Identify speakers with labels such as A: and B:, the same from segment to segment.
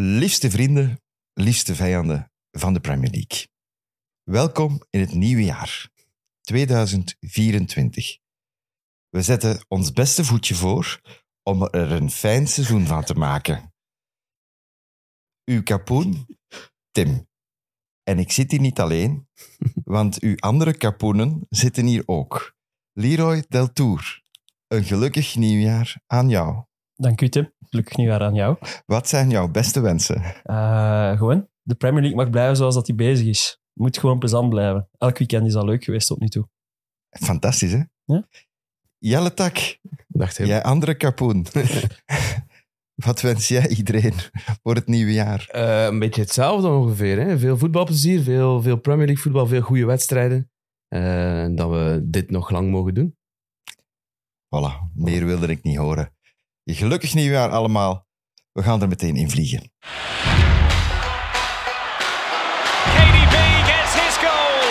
A: Liefste vrienden, liefste vijanden van de Premier League. Welkom in het nieuwe jaar, 2024. We zetten ons beste voetje voor om er een fijn seizoen van te maken. Uw kapoen, Tim. En ik zit hier niet alleen, want uw andere kapoenen zitten hier ook. Leroy Deltour, een gelukkig nieuwjaar aan jou.
B: Dank u, Tim. Gelukkig nieuwjaar aan jou.
A: Wat zijn jouw beste wensen?
B: Eh, gewoon, de Premier League mag blijven zoals dat hij bezig is. Moet gewoon plezant blijven. Elk weekend is al leuk geweest tot nu toe.
A: Fantastisch, hè?
B: Ja.
A: Jelle Tak,
C: Dacht hij.
A: jij andere kapoen. Wat wens jij iedereen voor het nieuwe jaar?
C: Eh, een beetje hetzelfde ongeveer. Hè? Veel voetbalplezier, veel, veel Premier League voetbal, veel goede wedstrijden. Eh, en dat we dit nog lang mogen doen.
A: Voilà, meer wilde ik niet horen. Je gelukkig nieuwjaar allemaal. We gaan er meteen in vliegen.
D: KDB gets his goal.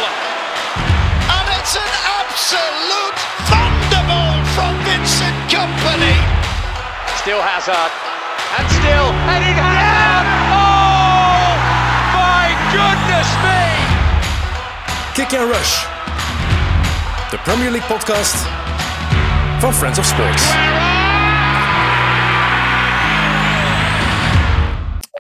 E: And it's an absolute thunderbolt from Vincent Company.
D: Still Hazard. And still heading Hazard. Oh, my goodness me.
F: Kick and Rush. De Premier League podcast van Friends of Sports.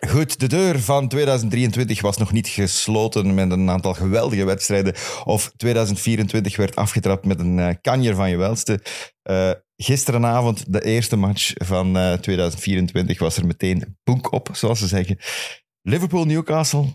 A: Goed, de deur van 2023 was nog niet gesloten met een aantal geweldige wedstrijden. Of 2024 werd afgetrapt met een eh, kanjer van je welste. Eh, gisterenavond, de eerste match van eh, 2024, was er meteen boek op, zoals ze zeggen. Liverpool-Newcastle,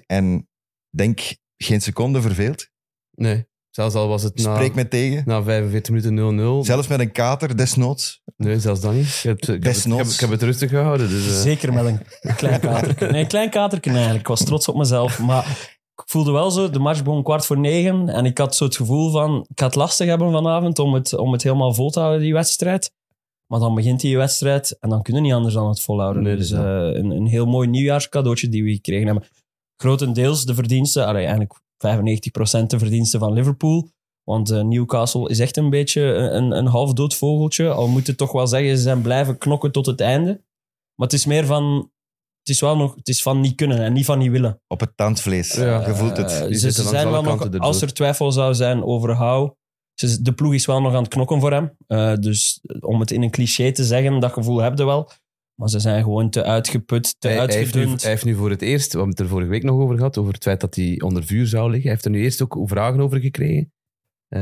A: 4-2. En denk, geen seconde verveeld.
C: Nee, zelfs al was het na,
A: Spreek me tegen.
C: na 45 minuten 0-0.
A: Zelfs met een kater, desnoods.
C: Nee, zelfs dan niet. Ik heb, het- ik heb, het- ik heb,
A: Desnoods.
C: ik heb het rustig gehouden. Dus, eh,
B: Zeker met een klein katerken. Nee, een klein katerken eigenlijk. Ik was trots op mezelf. Maar ik voelde wel zo, de match begon kwart voor negen. En ik had zo het gevoel van, ik ga het lastig hebben vanavond om het, om het helemaal vol te houden, die wedstrijd. Maar dan begint die wedstrijd en dan kunnen we niet anders dan het volhouden.
C: Nee,
B: dus
C: dat is
B: eh, een, een heel mooi nieuwjaarscadeautje die we gekregen hebben. Grotendeels de verdiensten, allee, eigenlijk 95% de verdiensten van Liverpool. Want eh, Newcastle is echt een beetje een, een half dood vogeltje. Al moet je toch wel zeggen, ze zijn blijven knokken tot het einde. Maar het is meer van... Het is wel nog... Het is van niet kunnen en niet van niet willen.
A: Op het tandvlees.
C: Ja.
A: Je voelt
B: Eh,
A: het.
B: ze- ze
C: die zitten langs
B: zijn
C: alle
B: wel nog...
C: kanten erdoor.
B: Als er twijfel zou zijn over Hou... ze- De ploeg is wel nog aan het knokken voor hem. Eh, dus om het in een cliché te zeggen, dat gevoel heb je wel. Maar ze zijn gewoon te uitgeput, te
C: hij, hij heeft nu,
B: uitgedund.
C: hij heeft nu voor het eerst, we hebben het er vorige week nog over gehad, over het feit dat hij onder vuur zou liggen. Hij heeft er nu eerst ook vragen over gekregen.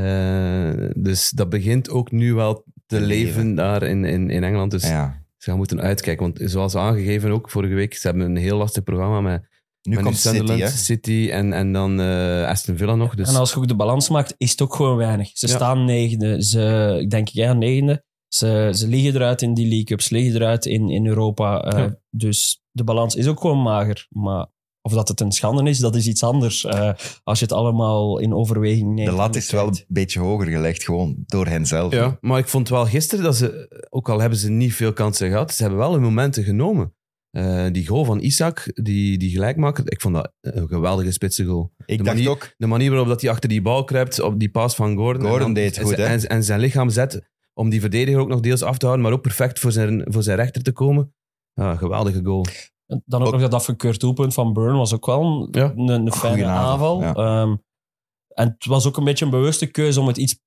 C: Eh, dus dat begint ook nu wel te
A: Te leven.
C: leven daar in, in, in Engeland. Dus
A: Ja.
C: Ze gaan moeten uitkijken, want zoals aangegeven ook vorige week, ze hebben een heel lastig programma met,
A: Nu
C: met
A: komt City,
C: Sunderland,
A: hè.
C: City, en, en dan eh, Aston Villa nog. Dus
B: En als je ook de balans maakt, is het ook gewoon weinig. Ze
C: Ja.
B: staan negende. Ze, ik denk, ja, negende. Ze, ze liggen eruit in die League Cup. Ze liggen eruit in, in Europa. Eh,
C: Ja.
B: Dus de balans is ook gewoon mager. Maar of dat het een schande is, dat is iets anders. eh, als je het allemaal in overweging neemt.
A: De lat is wel een beetje hoger gelegd, gewoon door henzelf.
C: ja, maar ik vond wel gisteren dat ze, ook al hebben ze niet veel kansen gehad, ze hebben wel hun momenten genomen. Eh, die goal van Isaac, die, die gelijkmaker, ik vond dat een geweldige spitse goal.
A: Ik
C: De
A: dacht
C: manier-
A: ook,
C: De manier waarop dat hij achter die bal kruipt, op die paas van Gordon.
A: Gordon
C: en dan-
A: deed het
C: en
A: goed, hè?
C: zijn- En, en zijn lichaam zet om die verdediger ook nog deels af te houden, maar ook perfect voor zijn, voor zijn rechter te komen. Ja, geweldige goal.
B: Dan ook
A: Ook-
B: nog dat afgekeurd doelpunt van Burn was ook wel een,
C: Ja.
B: een, een
A: Goeie
B: fijne
A: aanval,
B: aanval.
A: ja.
B: Ehm, en het was ook een beetje een bewuste keuze om het iets...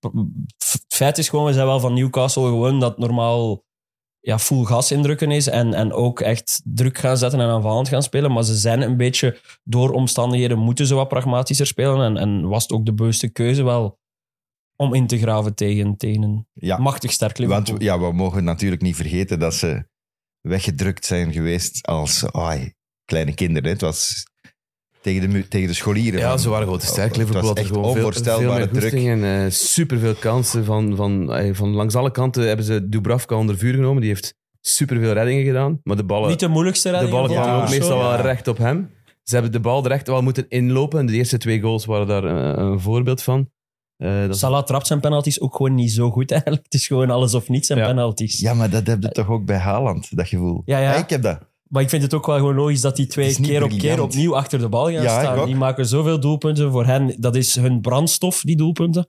B: Het feit is gewoon, we zijn wel van Newcastle gewoon dat normaal ja, full gas indrukken is en, en ook echt druk gaan zetten en aanvallend gaan spelen. Maar ze zijn een beetje door omstandigheden moeten ze wat pragmatischer spelen en, en was het ook de bewuste keuze wel om in te graven tegen, tegen een
A: ja,
B: machtig sterk Liverpool.
A: Want we- ja, we mogen natuurlijk niet vergeten dat ze weggedrukt zijn geweest als ai, kleine kinderen. Het was tegen de, mu- tegen de scholieren.
C: Ja,
A: van-
C: ze waren gewoon te sterk.
A: Het was
C: Liverpool had er
A: echt
C: gewoon veel, veel
A: onvoorstelbare
C: meer
A: druk.
C: goesting en eh, superveel kansen. Van, van, eh, van langs alle kanten hebben ze Dubravka onder vuur genomen. Die heeft superveel reddingen gedaan. Maar de ballen,
B: Niet de moeilijkste
C: de
B: redding.
C: ballen
B: vond ik
C: kwamen
A: ja,
C: ook
B: zo.
C: meestal
A: ja.
C: wel recht op hem. Ze hebben de bal er echt wel moeten inlopen. En de eerste twee goals waren daar eh, een voorbeeld van. Eh, dat
B: Salah trapt zijn penalties ook gewoon niet zo goed eigenlijk. Het is gewoon alles of niets en
C: Ja.
B: penalties.
A: Ja, maar dat heb je toch ook bij Haaland, dat gevoel.
B: Ja, ja.
A: ik heb dat.
B: Maar ik vind het ook wel gewoon logisch dat die
A: Het
B: twee
A: is niet
B: keer op
A: briljant.
B: keer opnieuw achter de bal gaan
A: Ja, ik
B: staan.
A: ook.
B: Die maken zoveel doelpunten voor hen. Dat is hun brandstof, die doelpunten.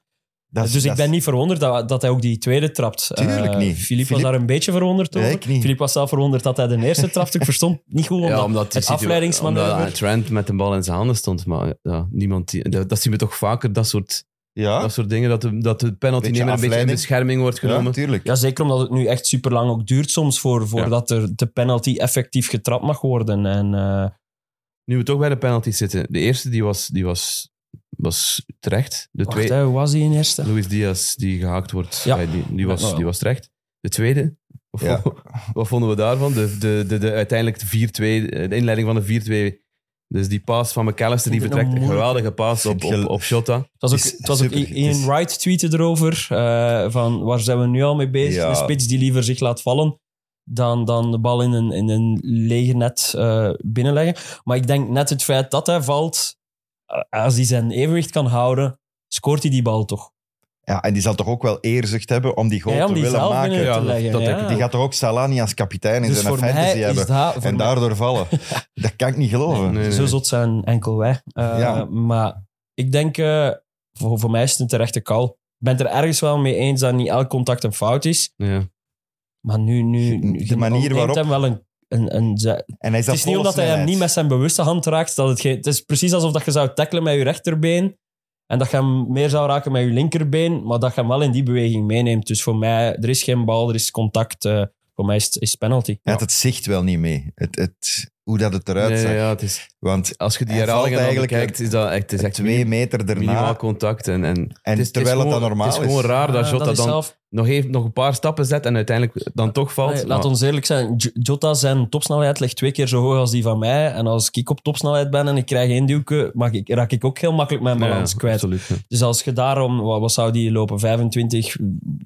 A: Dat is-
B: dus ik
A: dat is-
B: ben niet verwonderd dat, dat hij ook die tweede trapt.
A: Tuurlijk
B: Eh,
A: niet.
B: Filip was
A: Philippe-
B: daar een beetje verwonderd
A: Nee,
B: over.
A: ik niet.
B: Filip was zelf verwonderd dat hij de eerste trapte. Ik verstond niet goed omdat,
C: omdat
B: het afleidingsmanoeuvre...
C: eh, Trent met de bal in zijn handen stond. Maar eh, ja, niemand die, dat, dat zien we toch vaker, dat soort,
A: Ja,
C: dat soort dingen. Dat de, dat de
A: Beetje
C: penaltynemer een beetje in
A: afleiding.
C: bescherming wordt
A: ja
C: genomen.
A: natuurlijk.
B: ja, zeker omdat het nu echt super lang ook duurt soms voor, voordat er de penalty effectief getrapt mag worden. En, eh,
C: nu we toch bij de penalty zitten. De eerste die was, die was, was terecht. De
B: wacht,
C: tweede,
B: hè, hoe was die in eerste?
C: Luis Diaz, die gehaakt wordt,
B: Ja.
C: eh, die, die, was,
B: Ja.
C: die was terecht. De tweede, wat
A: Ja.
C: vonden- wat vonden we daarvan? De, de, de, de, uiteindelijk de 4-2, eh, de inleiding van de 4-2. Dus die paas van McAllister, die
B: Ik vind het
C: vertrekt. Een
B: een moeilijke-
C: geweldige paas op, op, op Jota.
B: Het was
A: Het
B: ook,
A: is
B: het was ook
A: super, het is-
B: Ian Wright tweette erover, eh, van waar zijn we nu al mee bezig?
A: Ja.
B: Een spits die liever zich laat vallen dan, dan de bal in een, in een lege net eh, binnenleggen. Maar ik denk net het feit dat hij valt, eh, als hij zijn evenwicht kan houden, scoort hij die bal toch.
A: Ja, en die zal toch ook wel eerzucht hebben om die goal
B: Ja, om
A: te
B: die
A: willen
B: zelf
A: maken.
B: binnen
C: Ja,
B: te
C: dat-
B: leggen.
C: dat
B: ja.
C: denk ik.
A: Die gaat toch ook Salani als kapitein in
B: dus
A: zijn
B: voor
A: fantasy
B: mij
A: hebben.
B: is dat... voor
A: en
B: mij-
A: daardoor vallen. Dat kan ik niet geloven.
C: Nee, nee,
B: Zo
C: nee.
B: zot zijn enkel wij. Eh,
A: Ja.
B: Maar ik denk, eh, voor, voor mij is het een terechte call. Ik ben het er ergens wel mee eens dat niet elk contact een fout is.
C: Ja.
B: Maar nu, nu, nu
A: De manier
B: ontneemt
A: waarop-
B: hem wel een. een, een ze-
A: En hij is
B: het is niet omdat hij hem niet met zijn bewuste hand raakt. Dat het, geen- het is precies alsof dat je zou tackelen met je rechterbeen. En dat je hem meer zou raken met je linkerbeen. Maar dat je hem wel in die beweging meeneemt. Dus voor mij, er is geen bal, er is contact. eh, voor mij is het is penalty.
A: Hij had het zicht wel niet mee. Het, het, hoe dat het eruit
C: Nee,
A: zag.
C: ja, het is,
A: Want
C: als je die
A: Hij
C: herhalingen
A: valt
C: eigenlijk
A: eigenlijk
C: kijkt, is dat echt, het is echt
A: twee meter
C: minimaal
A: daarna,
C: contact. En, en,
A: en
C: is-
A: terwijl het,
C: is
A: dan
C: gewoon-
A: normaal is.
C: Het is gewoon raar dat
B: Ah,
C: Jota
B: is
C: dan
B: zelf-
C: nog, even, nog een paar stappen zet en uiteindelijk dan toch valt.
B: Nee, laat
C: Maar-
B: ons eerlijk zijn. J- Jota zijn topsnelheid ligt twee keer zo hoog als die van mij. En als ik op topsnelheid ben en ik krijg één duwke, mag ik, raak ik ook heel makkelijk mijn
C: Ja,
B: balans kwijt.
C: Absoluut. ja.
B: Dus als je daarom, wa- wat, zou die lopen? 25?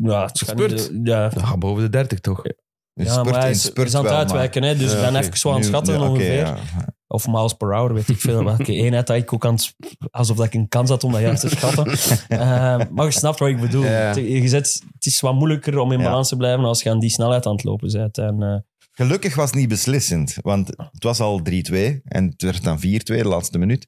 B: Ja, het gaat niet
C: Spurt.
B: de- ja.
C: Dat gaat boven de 30 toch?
A: Een
B: ja,
A: spurt
B: maar hij
A: in,
B: is,
A: spurt
B: is aan het
A: wel,
B: uitwijken, hè? dus
C: Ja,
B: ik ben
C: oké.
B: even zo aan
A: maar
B: het
A: nu-
B: schatten
A: nu- oké,
B: ongeveer.
A: ja.
B: Of miles per hour, weet ik veel welke eenheid dat ik ook aan het, alsof dat ik een kans had om dat juist te schatten. Eh, maar je snapt wat ik bedoel.
C: Ja.
B: Het- Je zet, het is wat moeilijker om in
A: Ja.
B: balans te blijven als je aan die snelheid aan het lopen bent. En, eh,
A: Gelukkig was het niet beslissend, want het was al 3-2 en het werd dan 4-2, de laatste minuut.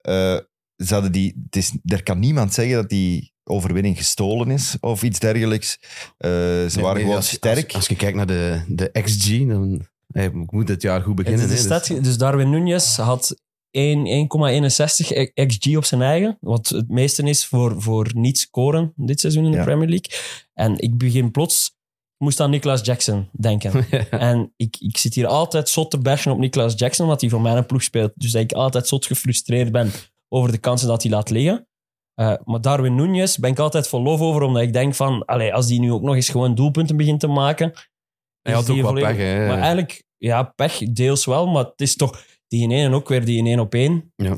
A: Eh, ze hadden die, het is, er kan niemand zeggen dat die overwinning gestolen is of iets dergelijks. Eh, ze waren
C: Nee,
A: gewoon
C: als-
A: sterk.
C: Als, als je kijkt naar de, de XG, dan hey, ik moet dit jaar goed beginnen.
B: Het is
C: hè,
B: de
C: dus-
B: stad- dus Darwin Nunez had 1 1,61 XG op zijn eigen, wat het meeste is voor, voor niet scoren dit seizoen in de
A: Ja.
B: Premier League. En ik begin plots, ik moest aan Nicolas Jackson denken. en ik, ik zit hier altijd zot te bashen op Nicolas Jackson, omdat hij voor mijn ploeg speelt. Dus dat ik altijd zot gefrustreerd ben over de kansen dat hij laat liggen. Eh, maar Darwin Nunez ben ik altijd vol lof over, omdat ik denk van, allee, als die nu ook nog eens gewoon doelpunten begint te maken... is
C: Hij had ook
B: die
C: wat
B: volledig-
C: pech. Hè.
B: maar eigenlijk, ja, pech deels wel, maar het is toch die in één en ook weer die in één op één.
C: Ja.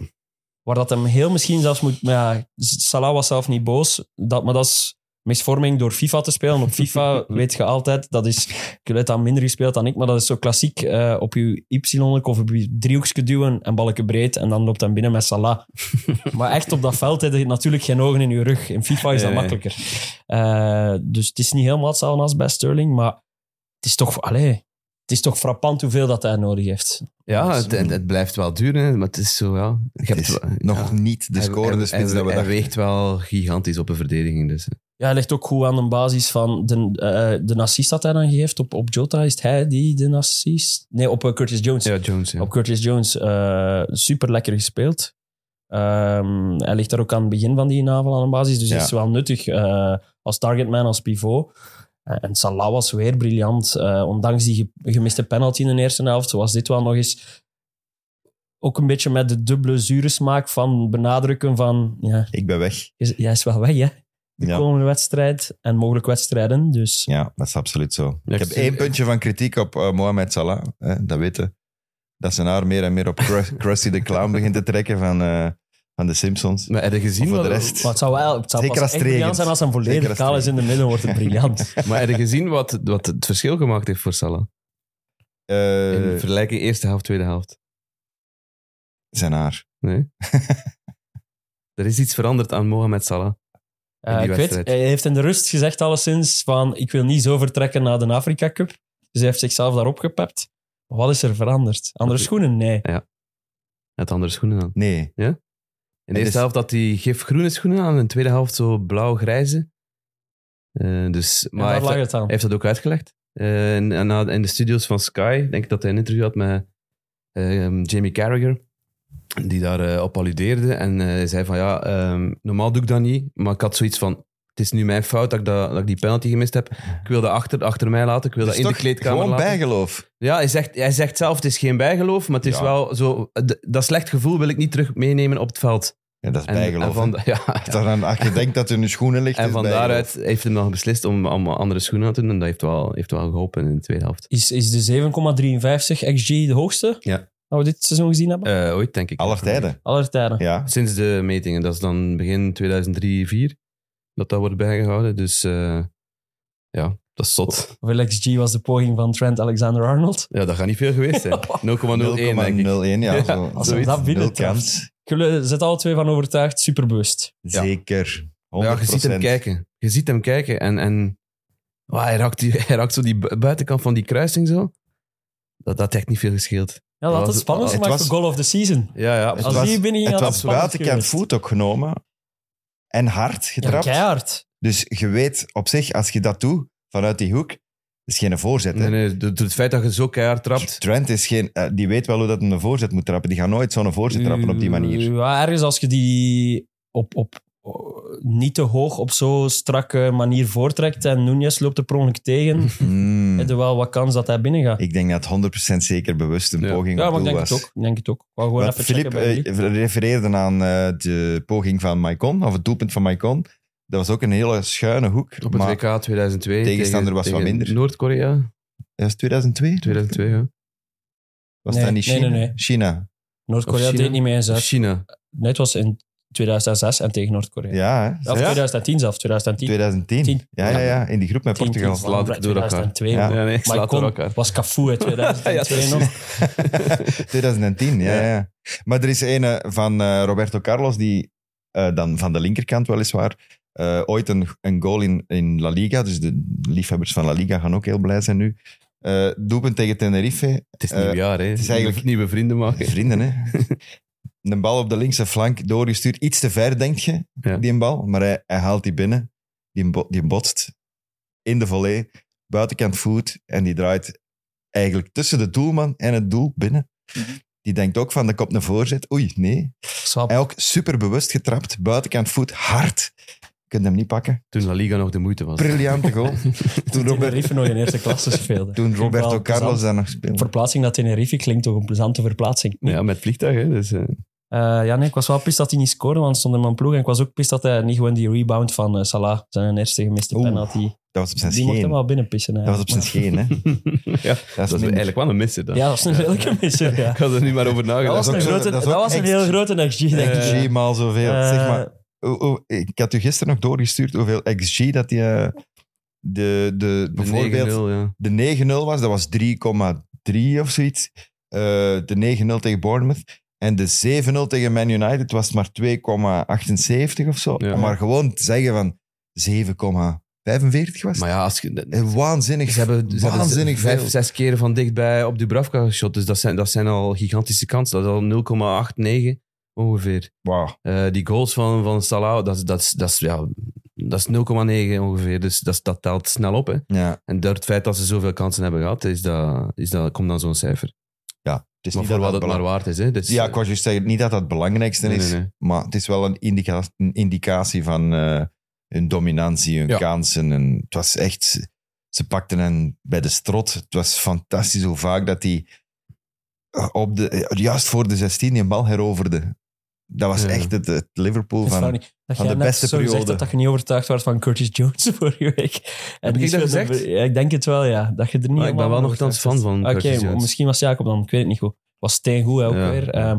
B: Waar dat hem heel misschien zelfs moet... Maar ja, Salah was zelf niet boos, dat, maar dat is misvorming door FIFA te spelen. Op FIFA weet je altijd, dat is... Ik heb dan minder gespeeld dan ik, maar dat is zo klassiek. eh, op je y of op je driehoekje duwen en balken breed en dan loopt hij binnen met Salah. maar echt op dat veld heb je natuurlijk geen ogen in je rug. In FIFA is dat
C: Nee, nee.
B: makkelijker. Eh, dus het is niet helemaal hetzelfde als bij Sterling, maar het is toch... Allee, het is toch frappant hoeveel dat hij nodig heeft.
C: ja, het, het, het blijft wel duren, maar het is zo, ja. Je
A: Het
C: hebt
A: is
C: wel-
A: nog
C: ja.
A: niet de
C: Hij-
A: scorende
C: hij-
A: spits
C: hij-
A: dat we
C: Hij
A: dachten.
C: weegt wel gigantisch op een verdediging. Dus.
B: Ja, hij ligt ook goed aan de basis van de, eh, de assist dat hij dan geeft op, op Jota. Is het hij die de assist... Nee, op eh, Curtis Jones.
C: Ja, Jones. Ja.
B: Op Curtis Jones. super lekker gespeeld. Ehm, hij ligt daar ook aan het begin van die navel aan de basis. Dus
A: Ja.
B: hij is wel nuttig eh, als targetman, als pivot. Eh, En Salah was weer briljant. Eh, ondanks die ge- gemiste penalty in de eerste helft, was dit wel nog eens... Ook een beetje met de dubbele zure smaak van benadrukken van... Ja,
A: Ik ben weg.
B: is- jij is wel weg, hè? De
A: Ja.
B: komende wedstrijd en mogelijk wedstrijden. Dus
A: Ja, dat is absoluut zo.
C: Ja,
A: ik
C: ik
A: heb
C: zie-
A: één puntje van kritiek op eh, Mohamed Salah. Hè, dat weten. Dat zijn haar meer en meer op Cru- Krusty de Clown begint te trekken van, eh, van de Simpsons.
C: Maar heb je gezien
A: Voor de
C: wat-
A: rest.
B: maar het zou wel het zou
A: Zeker
B: pas
A: als het
B: echt
A: regent.
B: briljant zijn als hij
A: Zeker
B: volledig
A: als
B: kaal
A: het
B: is in de midden, wordt het briljant.
C: Maar heb je gezien wat, wat het verschil gemaakt heeft voor Salah?
A: Eh,
C: In vergelijking eerste helft, tweede helft.
A: zijn haar.
C: Nee? er is iets veranderd aan Mohamed Salah.
B: Eh,
C: in
B: ik
C: die
B: weet,
C: wedstrijd.
B: hij heeft in de rust gezegd alleszins van ik wil niet zo vertrekken naar de Afrika Cup. Dus hij heeft zichzelf daarop gepept. Wat is er veranderd? Andere
C: Dat-
B: schoenen? Nee.
C: Het andere schoenen aan.
A: Nee.
C: de eerste
A: is-
C: helft had hij gif groene schoenen aan, in de tweede helft zo blauw-grijze. Eh, dus, maar hij
B: waar lag
C: heeft, dat,
B: het aan?
C: hij heeft dat ook uitgelegd. Eh, en, en na- in de studios van Sky, denk ik dat hij een interview had met eh, Jamie Carragher, die daar eh, op alludeerde. En eh, hij zei van, ja, ehm, normaal doe ik dat niet, maar ik had zoiets van, het is nu mijn fout dat ik, dat, dat ik die penalty gemist heb. Ik wil dat achter, achter mij laten, ik wil
A: Dus
C: dat in de
A: toch
C: kleedkamer
A: Gewoon
C: laten.
A: bijgeloof.
C: Ja, hij zegt, hij zegt zelf, het is geen bijgeloof, maar het is
A: Ja.
C: wel zo... d- Dat slecht gevoel wil ik niet terug meenemen op het veld.
A: Ja, dat is
C: En,
A: bijgeloof.
C: en van, ja,
A: hè. Dat dan, als je denkt dat er in je schoenen ligt,
C: en
A: is
C: van
A: bijgeloof.
C: daaruit heeft hij dan beslist om, om andere schoenen aan te doen. En dat heeft wel, heeft wel geholpen in de tweede helft.
B: Is, is de 7,53 XG de hoogste
C: Ja.
B: dat we dit seizoen gezien hebben?
C: Eh, ooit, denk ik.
A: Aller tijden,
B: Aller tijden.
A: ja.
C: Sinds de metingen. Dat is dan begin 2003-2004 dat dat wordt bijgehouden. Dus eh, ja, dat is zot.
B: Hoeveel XG was de poging van Trent Alexander-Arnold?
C: Ja, dat gaat niet veel geweest zijn. 0,01 denk
A: 0,01,
C: ik.
A: ja.
C: Ja,
A: zo,
B: Als we
A: zoiets.
B: dat
A: Nul
B: binnen
A: kans.
B: trouwens. Jullie zitten alle twee van overtuigd, superbewust.
C: Ja.
A: Zeker. 100%.
C: Ja, je ziet hem kijken. Je ziet hem kijken en... en Wauw, hij, raakt die, hij raakt zo die bu- buitenkant van die kruising zo. Dat, dat heeft niet veel gescheeld.
B: Ja, dat
C: was-
B: had het spannend
A: het
B: gemaakt
A: was-
B: voor goal of the season.
C: Ja, ja.
A: Het
B: Als
A: was,
B: die binnen ging,
A: het
B: had het
A: was
B: spannend
A: buitenkant
B: geweest.
A: voet ook genomen. En hard
B: Ja,
A: getrapt.
B: keihard.
A: dus je weet op zich, als je dat doet, vanuit die hoek, is geen voorzet. hè.
C: Nee, nee, door- door het feit dat je zo keihard trapt.
A: Trent is geen, eh, die weet wel hoe dat een voorzet moet trappen. Die gaat nooit zo'n voorzet trappen op die manier.
B: Ja, ergens als je die op, op, niet te hoog op zo'n strakke manier voortrekt en Nunez loopt er per ongeluk tegen,
A: Hmm.
B: heb je wel wat kans dat hij binnen gaat.
A: Ik denk dat 100% zeker bewust een
C: Ja.
A: poging
B: Ja,
A: op
B: maar ik
A: doel was.
B: denk het ook. Ik denk het ook. Ik wou gewoon
A: Want
B: even
A: Filip
B: checken bij jullie.
A: eh, refereerde aan eh, de poging van Maicon, of het doelpunt van Maicon. Dat was ook een hele schuine hoek.
C: Op het
A: maar-
C: WK 2002.
A: tegenstander was wat
C: tegen
A: minder.
C: Noord-Korea,
A: Dat was 2002?
C: 2002, ja.
A: Was
B: Nee,
A: dat niet
B: nee,
A: China?
B: nee, nee.
A: China.
C: Of
B: Noord-Korea
C: China.
B: deed niet mee eens. hè.
C: China.
B: Net was in 2006 en tegen Noord-Korea.
A: Ja, hè?
B: Of 2010 zelfs, 2010.
A: 2010.
B: Tien.
A: Ja, ja, ja, in die groep met
B: 10,
A: Portugal.
B: 10,
C: Slaat
B: van
C: ik door elkaar.
B: 2002.
A: Ja.
B: man.
C: nee, ik
B: Maar
C: slaat
B: ik
C: door
B: kon-
C: elkaar.
B: was Cafu uit 2002
C: Ja, dat
B: nog.
A: 2010, ja,
C: Ja.
A: ja. Maar er is een van eh, Roberto Carlos, die eh, dan van de linkerkant weliswaar, eh, ooit een, een goal in, in La Liga, dus de liefhebbers van La Liga gaan ook heel blij zijn nu, Eh doelpunt tegen Tenerife.
C: Het is
A: Eh,
C: nieuwjaar, hè. Het
A: is eigenlijk-
C: Nieuwe vrienden maken.
A: Vrienden, hè. Een bal op de linkse flank doorgestuurd. Iets te ver, denk je,
C: Ja.
A: die bal. Maar hij, hij haalt die binnen. Die, bo- die botst in de volley. Buitenkant voet. En die draait eigenlijk tussen de doelman en het doel binnen.
B: Mhm.
A: Die denkt ook van, de kop naar voorzet. Oei, nee.
B: Swap.
A: Hij ook superbewust getrapt. Buitenkant voet, hard. Je kunt hem niet pakken.
C: Toen La Liga nog de moeite was.
A: Briljante goal. toen, Robert,
B: Tenerife nog in eerste klasse speelde.
A: toen
B: Vind ik wel
A: Roberto
B: plezant.
A: Carlos daar nog speelde.
B: Verplaatsing naar Tenerife klinkt toch een plezante verplaatsing.
C: Ja, met vliegtuig, hè. Dus, eh,
B: Eh, ja, nee, ik was wel pist dat hij niet scoorde, want het stond in mijn ploeg. En ik was ook pist dat hij niet gewoon die rebound van eh, Salah, zijn eerste gemiste
A: Oeh,
B: penalty.
A: Dat was op zijn
B: Die mocht hem
A: scheen.
B: wel binnenpissen.
A: Dat was op zijn scheen, hè.
C: ja,
A: Dat
C: dat is
A: is
C: eigenlijk wel een misser dan.
B: Ja, dat was een lelijke misser, ja.
C: Ik had er niet maar over
B: Dat
C: nagedacht.
B: was
A: ook
B: een,
A: zo-
B: grote,
A: dat
B: dat
A: is ook
B: was een
A: echt-
B: heel grote XG, denk ik.
A: XG maal zoveel.
B: Eh,
A: zeg maar, Oh, oh, ik had u gisteren nog doorgestuurd hoeveel XG dat die, eh, de, de,
C: De 9-0,
A: bijvoorbeeld
C: ja.
A: de 9-0 was. Dat was 3,3 of zoiets. Eh, de 9-0 tegen Bournemouth. En de 7-0 tegen Man United was maar 2,78 of zo.
C: Ja.
A: Om Maar gewoon te zeggen van 7,45 was
C: Maar ja, als je,
A: het. Eh, Waanzinnig.
C: Ze hebben, ze hebben
A: waanzinnig
C: vijf,
A: veel.
C: zes keren van dichtbij op Dubravka geshot. Dus dat zijn, dat zijn al gigantische kansen. Dat is al 0,89 ongeveer.
A: Wauw.
C: Eh, die goals van, van Salah, dat, is- dat, is- dat, is, ja, dat is 0,9 ongeveer. Dus dat, is- dat telt snel op. Hè.
A: Ja.
C: En door het feit dat ze zoveel kansen hebben gehad, is dat, is dat, komt dan zo'n cijfer.
A: ja, het is
C: Maar
A: niet
C: voor
A: dat dat
C: wat het maar
A: belang-
C: waard is. Hè. Dus,
A: Ja, ik wou juist zeggen, niet dat dat het belangrijkste
C: Nee,
A: is.
C: nee, nee.
A: Maar het is wel een, indica- een indicatie van eh, hun dominantie, hun
C: Ja.
A: kansen. En het was echt... Ze pakten hen bij de strot. Het was fantastisch hoe vaak dat die op de, eh, juist voor de 16 die bal heroverde. Dat was
C: Ja.
A: echt het, het Liverpool
B: Dat is
A: van...
B: funny. Dat
A: van
B: jij
A: de
B: net
A: beste
B: zo gezegd
A: periode.
B: had dat je niet overtuigd werd van Curtis Jones vorige week. En
C: ik
B: die
C: dat
B: speelde-
C: gezegd?
B: Ja, ik denk het wel, ja. Dat je er niet
C: Maar ik ben
B: helemaal
C: wel
B: van
C: nogthans
B: overtuigd
C: fan
B: was.
C: van
B: Oké,
C: Curtis
B: maar
C: Jones.
B: misschien was Jacob dan, ik weet het niet goed. Was steengoed hè, ook
C: Ja.
B: weer. Ehm,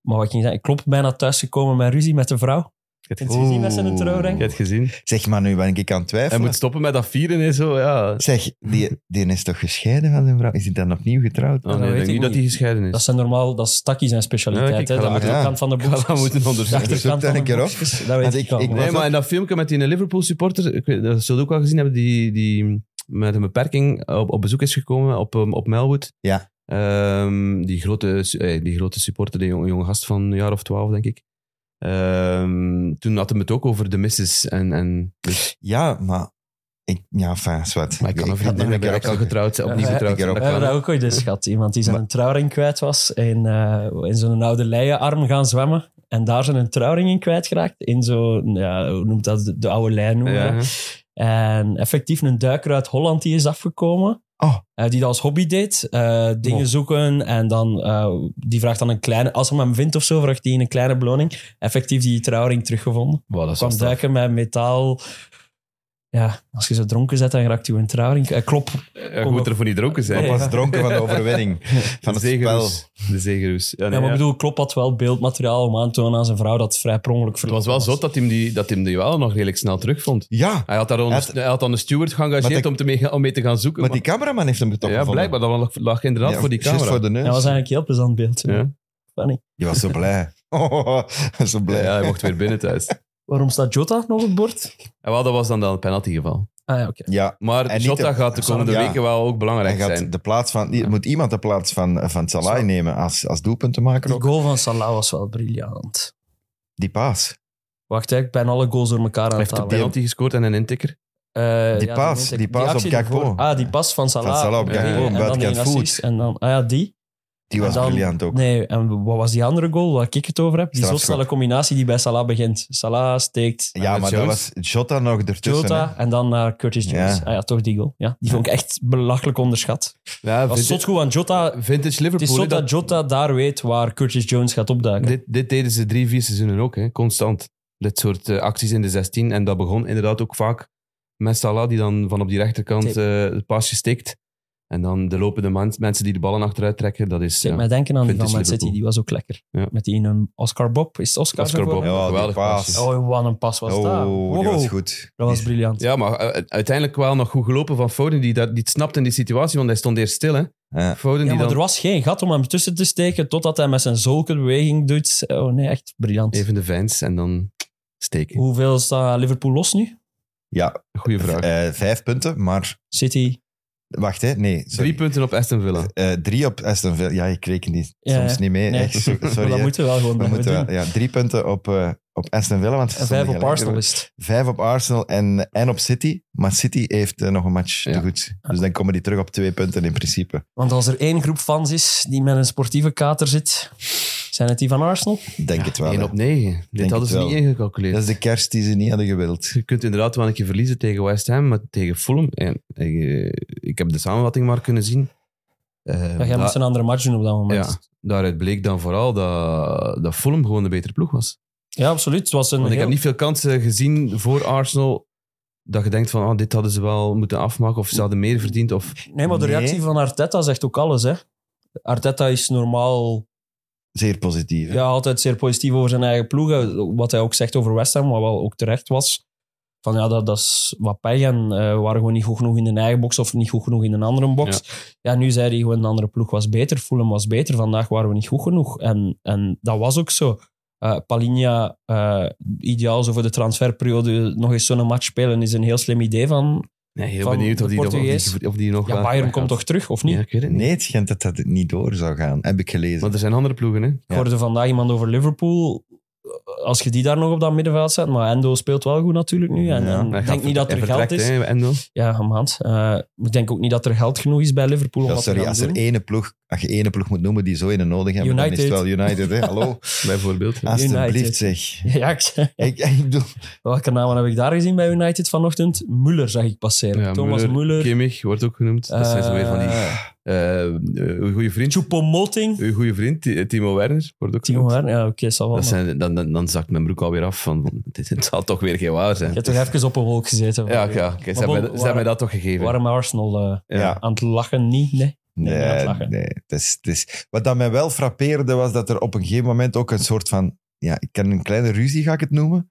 B: maar wat ik ging zeggen, Klopp bijna thuisgekomen met ruzie met de vrouw.
C: Je
B: Kunt u zien met zijn trouwring?
C: hebt het gezien.
A: Zeg maar nu ben ik aan het
C: Hij
A: twijfelen.
C: moet stoppen met dat vieren en zo. Ja. Oh,
A: Zeg, die, die is toch gescheiden van zijn vrouw? Is hij dan opnieuw getrouwd?
C: Oh,
B: dat
C: nee, ik
B: weet
C: denk
B: ik
C: niet dat
B: niet.
C: hij gescheiden is.
B: Dat zijn normaal, dat is Taki zijn specialiteit.
C: Ja, ik ga
B: hè,
C: dat
B: de
C: moeten-
B: achterkant van de
C: Ik ga
B: box.
C: dat moeten onderzoeken.
B: De achterkant
A: Zoek dat
B: van de
A: een keer op.
B: boxjes, Dat weet
A: Want
B: ik
A: ik-
B: wel.
A: ik-
C: Nee,
A: Was
C: maar
A: dat-
C: in dat filmpje met die Liverpool supporter, ik weet- dat zult je ook wel gezien hebben, die, die met een beperking op, op bezoek is gekomen op, ehm, op Melwood.
A: Ja.
C: Ehm, die, grote, su- eh, die grote supporter, die jonge, jonge gast van een jaar of twaalf, denk ik. Ehm, toen hadden we het ook over de misses. En, en, dus,
A: Ja, maar... Ik, ja, fijn, zwart.
C: maar ik kan een
A: had nog
C: vriendin hebben,
A: keer
C: ik al
A: opzoeken.
C: getrouwd,
B: Ja,
C: opnieuw
B: ja,
C: getrouwd.
A: ik heb
C: dat
A: ook-
B: We hebben
C: kan.
B: daar ook ooit eens gehad. Iemand die zijn trouwring kwijt was en eh, in zo'n oude leienarm gaan zwemmen. En daar zijn trouwring in kwijtgeraakt. In zo'n, ja, hoe noemt dat, de, de oude lei noemen. we
C: Ja,
B: dat.
C: ja.
B: En effectief een duiker uit Holland die is afgekomen.
A: Oh.
B: Eh, die dat als hobby deed. eh, dingen
A: Wow.
B: zoeken. En dan, eh, die vraagt dan een kleine... Als hij hem vindt of zo, vraagt hij een kleine beloning. Effectief die trouwring teruggevonden.
C: Wow, dat is wel
B: kwam
C: straf.
B: duiken met metaal. Ja, als je zo dronken zet, dan raakt je een trouwring. Eh, klop.
C: Ja, je moet er voor niet dronken zijn.
A: Ik
B: Nee,
A: was
B: ja.
A: dronken van de overwinning. Van
C: de
A: het spel.
C: zegerhoes. De zegerhoes. Ja, nee,
B: Ja, maar
C: ja.
B: ik bedoel, Klop had wel beeldmateriaal om aan te tonen aan zijn vrouw dat vrij prongelijk
C: Het was wel zot dat hij hem die, dat hij hem die wel nog redelijk snel terugvond.
A: Ja,
C: Hij had, daar onder-
A: Hij had-
C: hij had dan de steward
A: Maar
C: geëngageerd
A: die-
C: om, te mee, om mee te gaan zoeken.
A: maar die cameraman heeft hem toch
C: maar- ja,
A: gevonden.
C: blijkbaar. Dat lag, lag inderdaad
A: Ja,
C: voor die
A: juist
C: camera.
A: voor de neus.
B: Dat was eigenlijk een heel plezant beeld.
C: Ja.
B: Funny.
A: Je was zo blij. Oh, zo blij.
C: Ja, hij mocht weer binnen thuis.
B: Waarom staat Jota nog op het bord?
C: En wel, dat was dan een penaltygeval.
B: Ah ja, oké.
A: Ja,
C: Maar
A: En niet
C: Jota
A: de-
C: gaat de komende
A: Ja.
C: weken wel ook
A: hij
C: belangrijk zijn.
A: gaat de plaats van, die- moet iemand de plaats van, van Salah nemen als, als doelpuntenmaker
B: De
A: ook.
B: goal van Salah was wel briljant.
A: Die paas.
B: Wacht, hè, ik ben alle goals door elkaar aan
C: Hij
B: het
C: heeft een
B: halen.
C: penalty gescoord en een intikker.
B: Eh,
A: Die paas,
B: weet ik.
A: die paas op
B: actie
A: Gakpo.
B: ervoor. Ah, die pas van Salah.
A: Van Salah op
B: Ja,
A: Gakpo,
B: en dan die
A: buitenkant voet.
B: assist, En dan, ah ja, die.
A: Die was
B: En dan-
A: briljant ook.
B: Nee, en wat was die andere goal waar ik het over heb? Die
A: Strafschop.
B: zotsnelle combinatie die bij Salah begint. Salah steekt
A: ja,
C: met
A: maar dat was
C: Jones.
A: Jota nog ertussen.
B: Jota
A: hè.
B: en dan naar Curtis Jones.
A: Ja.
B: Ah ja, toch die goal. Ja, die vond ik echt belachelijk onderschat.
C: Ja,
B: Dat was zot
C: vintage,
B: goed
C: Ah,
B: aan Jota.
C: vintage
B: Het is
C: Liverpool.
B: zo
C: hè,
B: dat
C: dat-
B: Jota daar weet waar Curtis Jones gaat opduiken.
C: dit, dit deden ze drie, vier seizoenen ook. Hè, constant. Dit soort eh, acties in de 16. En dat begon inderdaad ook vaak met Salah, die dan van op die rechterkant
B: Tip.
C: eh, het paasje stikt. En dan de lopende mens- mensen die de ballen achteruit trekken. Dat is
B: Zet
C: ja,
B: mij denken aan die van
C: Vintage
B: Man City,
C: Liverpool.
B: die was ook lekker.
C: Ja.
B: Met die in een Oscar Bob. Is het Oscar,
C: Oscar Bob.
B: daarvoor?
A: Ja, die
C: Geweldig
A: paas.
C: paasje.
B: Oh, wat een pas was
A: Oh,
B: dat.
A: die
B: Wow.
A: was goed.
B: Dat was briljant.
C: Ja, maar eh, uiteindelijk wel nog goed gelopen van Foden, die, dat, die het snapt in die situatie, want hij stond eerst stil. Hè.
A: Ja.
C: Foden
B: Ja,
C: die
B: maar
C: dan
B: er was geen gat om hem tussen te steken, totdat hij met zijn zulke beweging doet. Oh nee, echt briljant.
C: even de fans en dan steken.
B: Hoeveel staat Liverpool los nu?
A: Ja,
C: Goeie vraag.
A: eh, vijf punten, maar...
B: City.
A: Wacht, hè. Nee, sorry.
C: Drie punten op Aston Villa.
A: Eh, drie op Aston Villa. Ja, ik reken die
B: Ja,
A: soms
B: ja.
A: niet mee.
B: Nee.
A: Echt, so-
B: Maar
A: sorry.
B: dat
A: hè.
B: moeten we wel gewoon
A: we
B: blijven
A: moeten wel,
B: doen.
A: ja, drie punten op, eh, op Aston Villa. Want ze
B: En
A: stonden
B: vijf op
A: gelijk.
B: Arsenal is het.
A: Vijf op Arsenal en, en op City. Maar City heeft eh, nog een match
C: Ja.
A: te goed. Dus dan komen die terug op twee punten in principe.
B: Want als er één groep fans is die met een sportieve kater zit, zijn het die van Arsenal?
A: Denk het wel.
C: 1
A: hè.
C: op 9. Dit
A: het
C: hadden ze
A: wel.
C: niet ingecalculeerd.
A: Dat is de kerst die ze niet hadden gewild.
C: Je kunt inderdaad wel een keer verliezen tegen West Ham, maar tegen Fulham. En, eh, ik heb de samenvatting maar kunnen zien. Eh,
B: Ja, jij
C: da-
B: moest een andere match doen op dat moment.
C: ja, daaruit bleek dan vooral dat, dat Fulham gewoon de betere ploeg was.
B: Ja, absoluut. Het was een
C: Want ik
B: heel-
C: heb niet veel kansen gezien voor Arsenal dat je denkt van oh, dit hadden ze wel moeten afmaken of ze hadden meer verdiend. Of,
B: Nee, maar de
A: Nee.
B: reactie van Arteta zegt ook alles. Hè. Arteta is normaal
A: Zeer positief. hè.
B: ja, altijd zeer positief over zijn eigen ploegen. Wat hij ook zegt over West Ham, wat wel ook terecht was. Van ja, dat, dat is wat pech. En eh, we waren gewoon niet goed genoeg in de eigen box of niet goed genoeg in een andere box. Ja, nu zei hij gewoon de andere ploeg was beter. Fulham was beter. Vandaag waren we niet goed genoeg. En, en dat was ook zo. Eh Palinha, eh, ideaal zo voor de transferperiode, nog eens zo'n match spelen, is een heel slim idee van...
C: nee, heel
B: Van
C: benieuwd
B: de
C: of die, nog- of die-
B: Portugees.
C: of die nog
B: Ja,
C: wel-
B: Bayern komt toch terug, of niet?
C: Ja, ik weet het niet.
A: Nee, het schijnt dat dat niet door zou gaan. Heb ik gelezen.
C: Want er zijn andere ploegen, hè?
B: Ik hoorde vandaag iemand over Liverpool. Als je die daar nog op dat middenveld zet. Maar Endo speelt wel goed natuurlijk nu. En,
A: Ja,
B: en
C: Hij
B: ik
C: gaat
B: denk niet dat er
C: hij
B: geld
C: vertrekt,
B: is.
C: Hè, Endo.
B: Ja, een maand. Eh, ik denk ook niet dat er geld genoeg is bij Liverpool om
A: Ja,
B: wat te
A: sorry,
B: gaan
A: als, er
B: doen.
A: ene ploeg, als je ene ploeg moet noemen die zo in de nodig hebben, dan is het wel United. Hè? Hallo,
C: Bijvoorbeeld.
B: Ah,
C: Ja.
A: alsjeblieft zeg.
B: Ja, ik zei-
A: Ik, ik bedoel,
B: welke namen heb ik daar gezien bij United vanochtend? Muller zag ik passeren.
C: Ja,
B: Thomas Muller.
C: Kimmich wordt ook genoemd. Dat zijn zo weer van die... eh, eh, uw goede vriend.
B: Choupo-Moting.
C: Uw goede vriend, Ti- Timo Werner, wordt ook
B: Timo
C: genoemd.
B: Werner. Ja, oké, zal wel.
C: Dat
B: maar.
C: zijn, dan, dan, dan zakt mijn broek alweer af van, van, dit, dit zal toch weer geen waar zijn.
B: Je hebt toch even op een wolk gezeten.
C: Ja, ja. Kijk, ze
B: Maar
C: hebben
B: bon,
C: ze hebben mij
B: waar-
C: dat toch gegeven.
B: Waarom Arsenal eh,
A: ja.
C: Ja.
B: aan het lachen niet? Nee.
A: Nee,
B: Nee, niet aan het
A: nee,
B: lachen.
A: het is, het is, wat dat mij wel frappeerde was dat er op een gegeven moment ook een soort van, ja, ik ken een kleine ruzie, ga ik het noemen,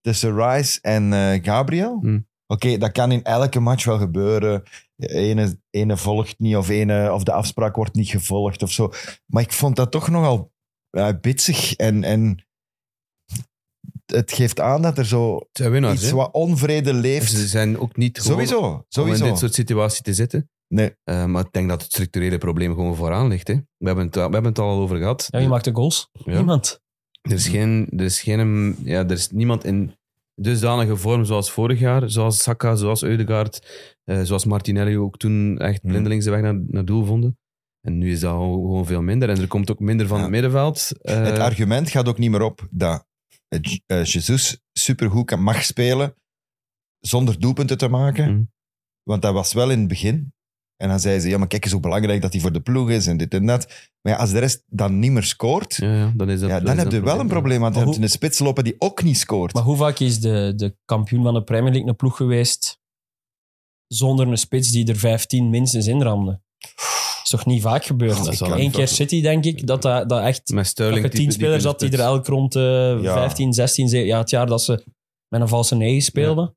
A: tussen Rice en eh, Gabriel.
C: Hmm.
A: Oké, dat kan in elke match wel gebeuren. De Ene, ene volgt niet of, ene, of de afspraak wordt niet gevolgd of zo. Maar ik vond dat toch nogal eh, bitsig en, en het geeft aan dat er zo
C: Het zijn winnaars,
A: iets
C: hè?
A: wat onvrede leeft.
C: Ze zijn ook niet gewoon
A: sowieso,
C: om in
A: sowieso.
C: dit soort situatie te zitten.
A: Nee.
C: Eh, maar ik denk dat het structurele probleem gewoon vooraan ligt. Hè. We, hebben het, al- we hebben het al over gehad.
B: Ja, wie maakt de goals?
C: Ja.
B: Niemand.
C: Er is, geen, er is, geen, ja, er is niemand in dusdanige vorm zoals vorig jaar. Zoals Saka, zoals Eudegaard, eh, zoals Martinelli ook toen echt
A: Hmm.
C: blindelings de weg naar, naar doel vonden. En nu is dat gewoon gewoon veel minder. En er komt ook minder van
A: Ja.
C: het middenveld. Eh,
A: Het argument gaat ook niet meer op dat eh, J- eh, Jesus supergoed kan, mag spelen zonder doelpunten te maken.
C: Mhm.
A: Want dat was wel in het begin. En dan zei ze, ja, maar kijk eens hoe belangrijk dat hij voor de ploeg is en dit en dat. Maar ja, als de rest dan niet meer scoort, ja,
C: ja, ja, dan is dat, dat
A: dan
C: is
A: heb
C: dat
A: je wel een probleem. Want dan
B: Maar
A: heb je een spits lopen die ook niet scoort.
B: Maar hoe vaak is de, de kampioen van de Premier League een ploeg geweest zonder een spits die er 15 minstens in ramde? Dat is toch niet vaak
A: Ja,
B: gebeurd?
A: dat zal
B: Eén
C: niet
B: keer
C: vaak-
B: City, denk ik, dat, dat, dat echt...
C: Met Sterling.
B: Dat je tien
C: type-
B: spelers
C: type
B: had die er
C: spits.
B: elk rond eh
A: Ja.
B: 15, 16, zeven- ja, het jaar dat ze met een valse 9 speelden.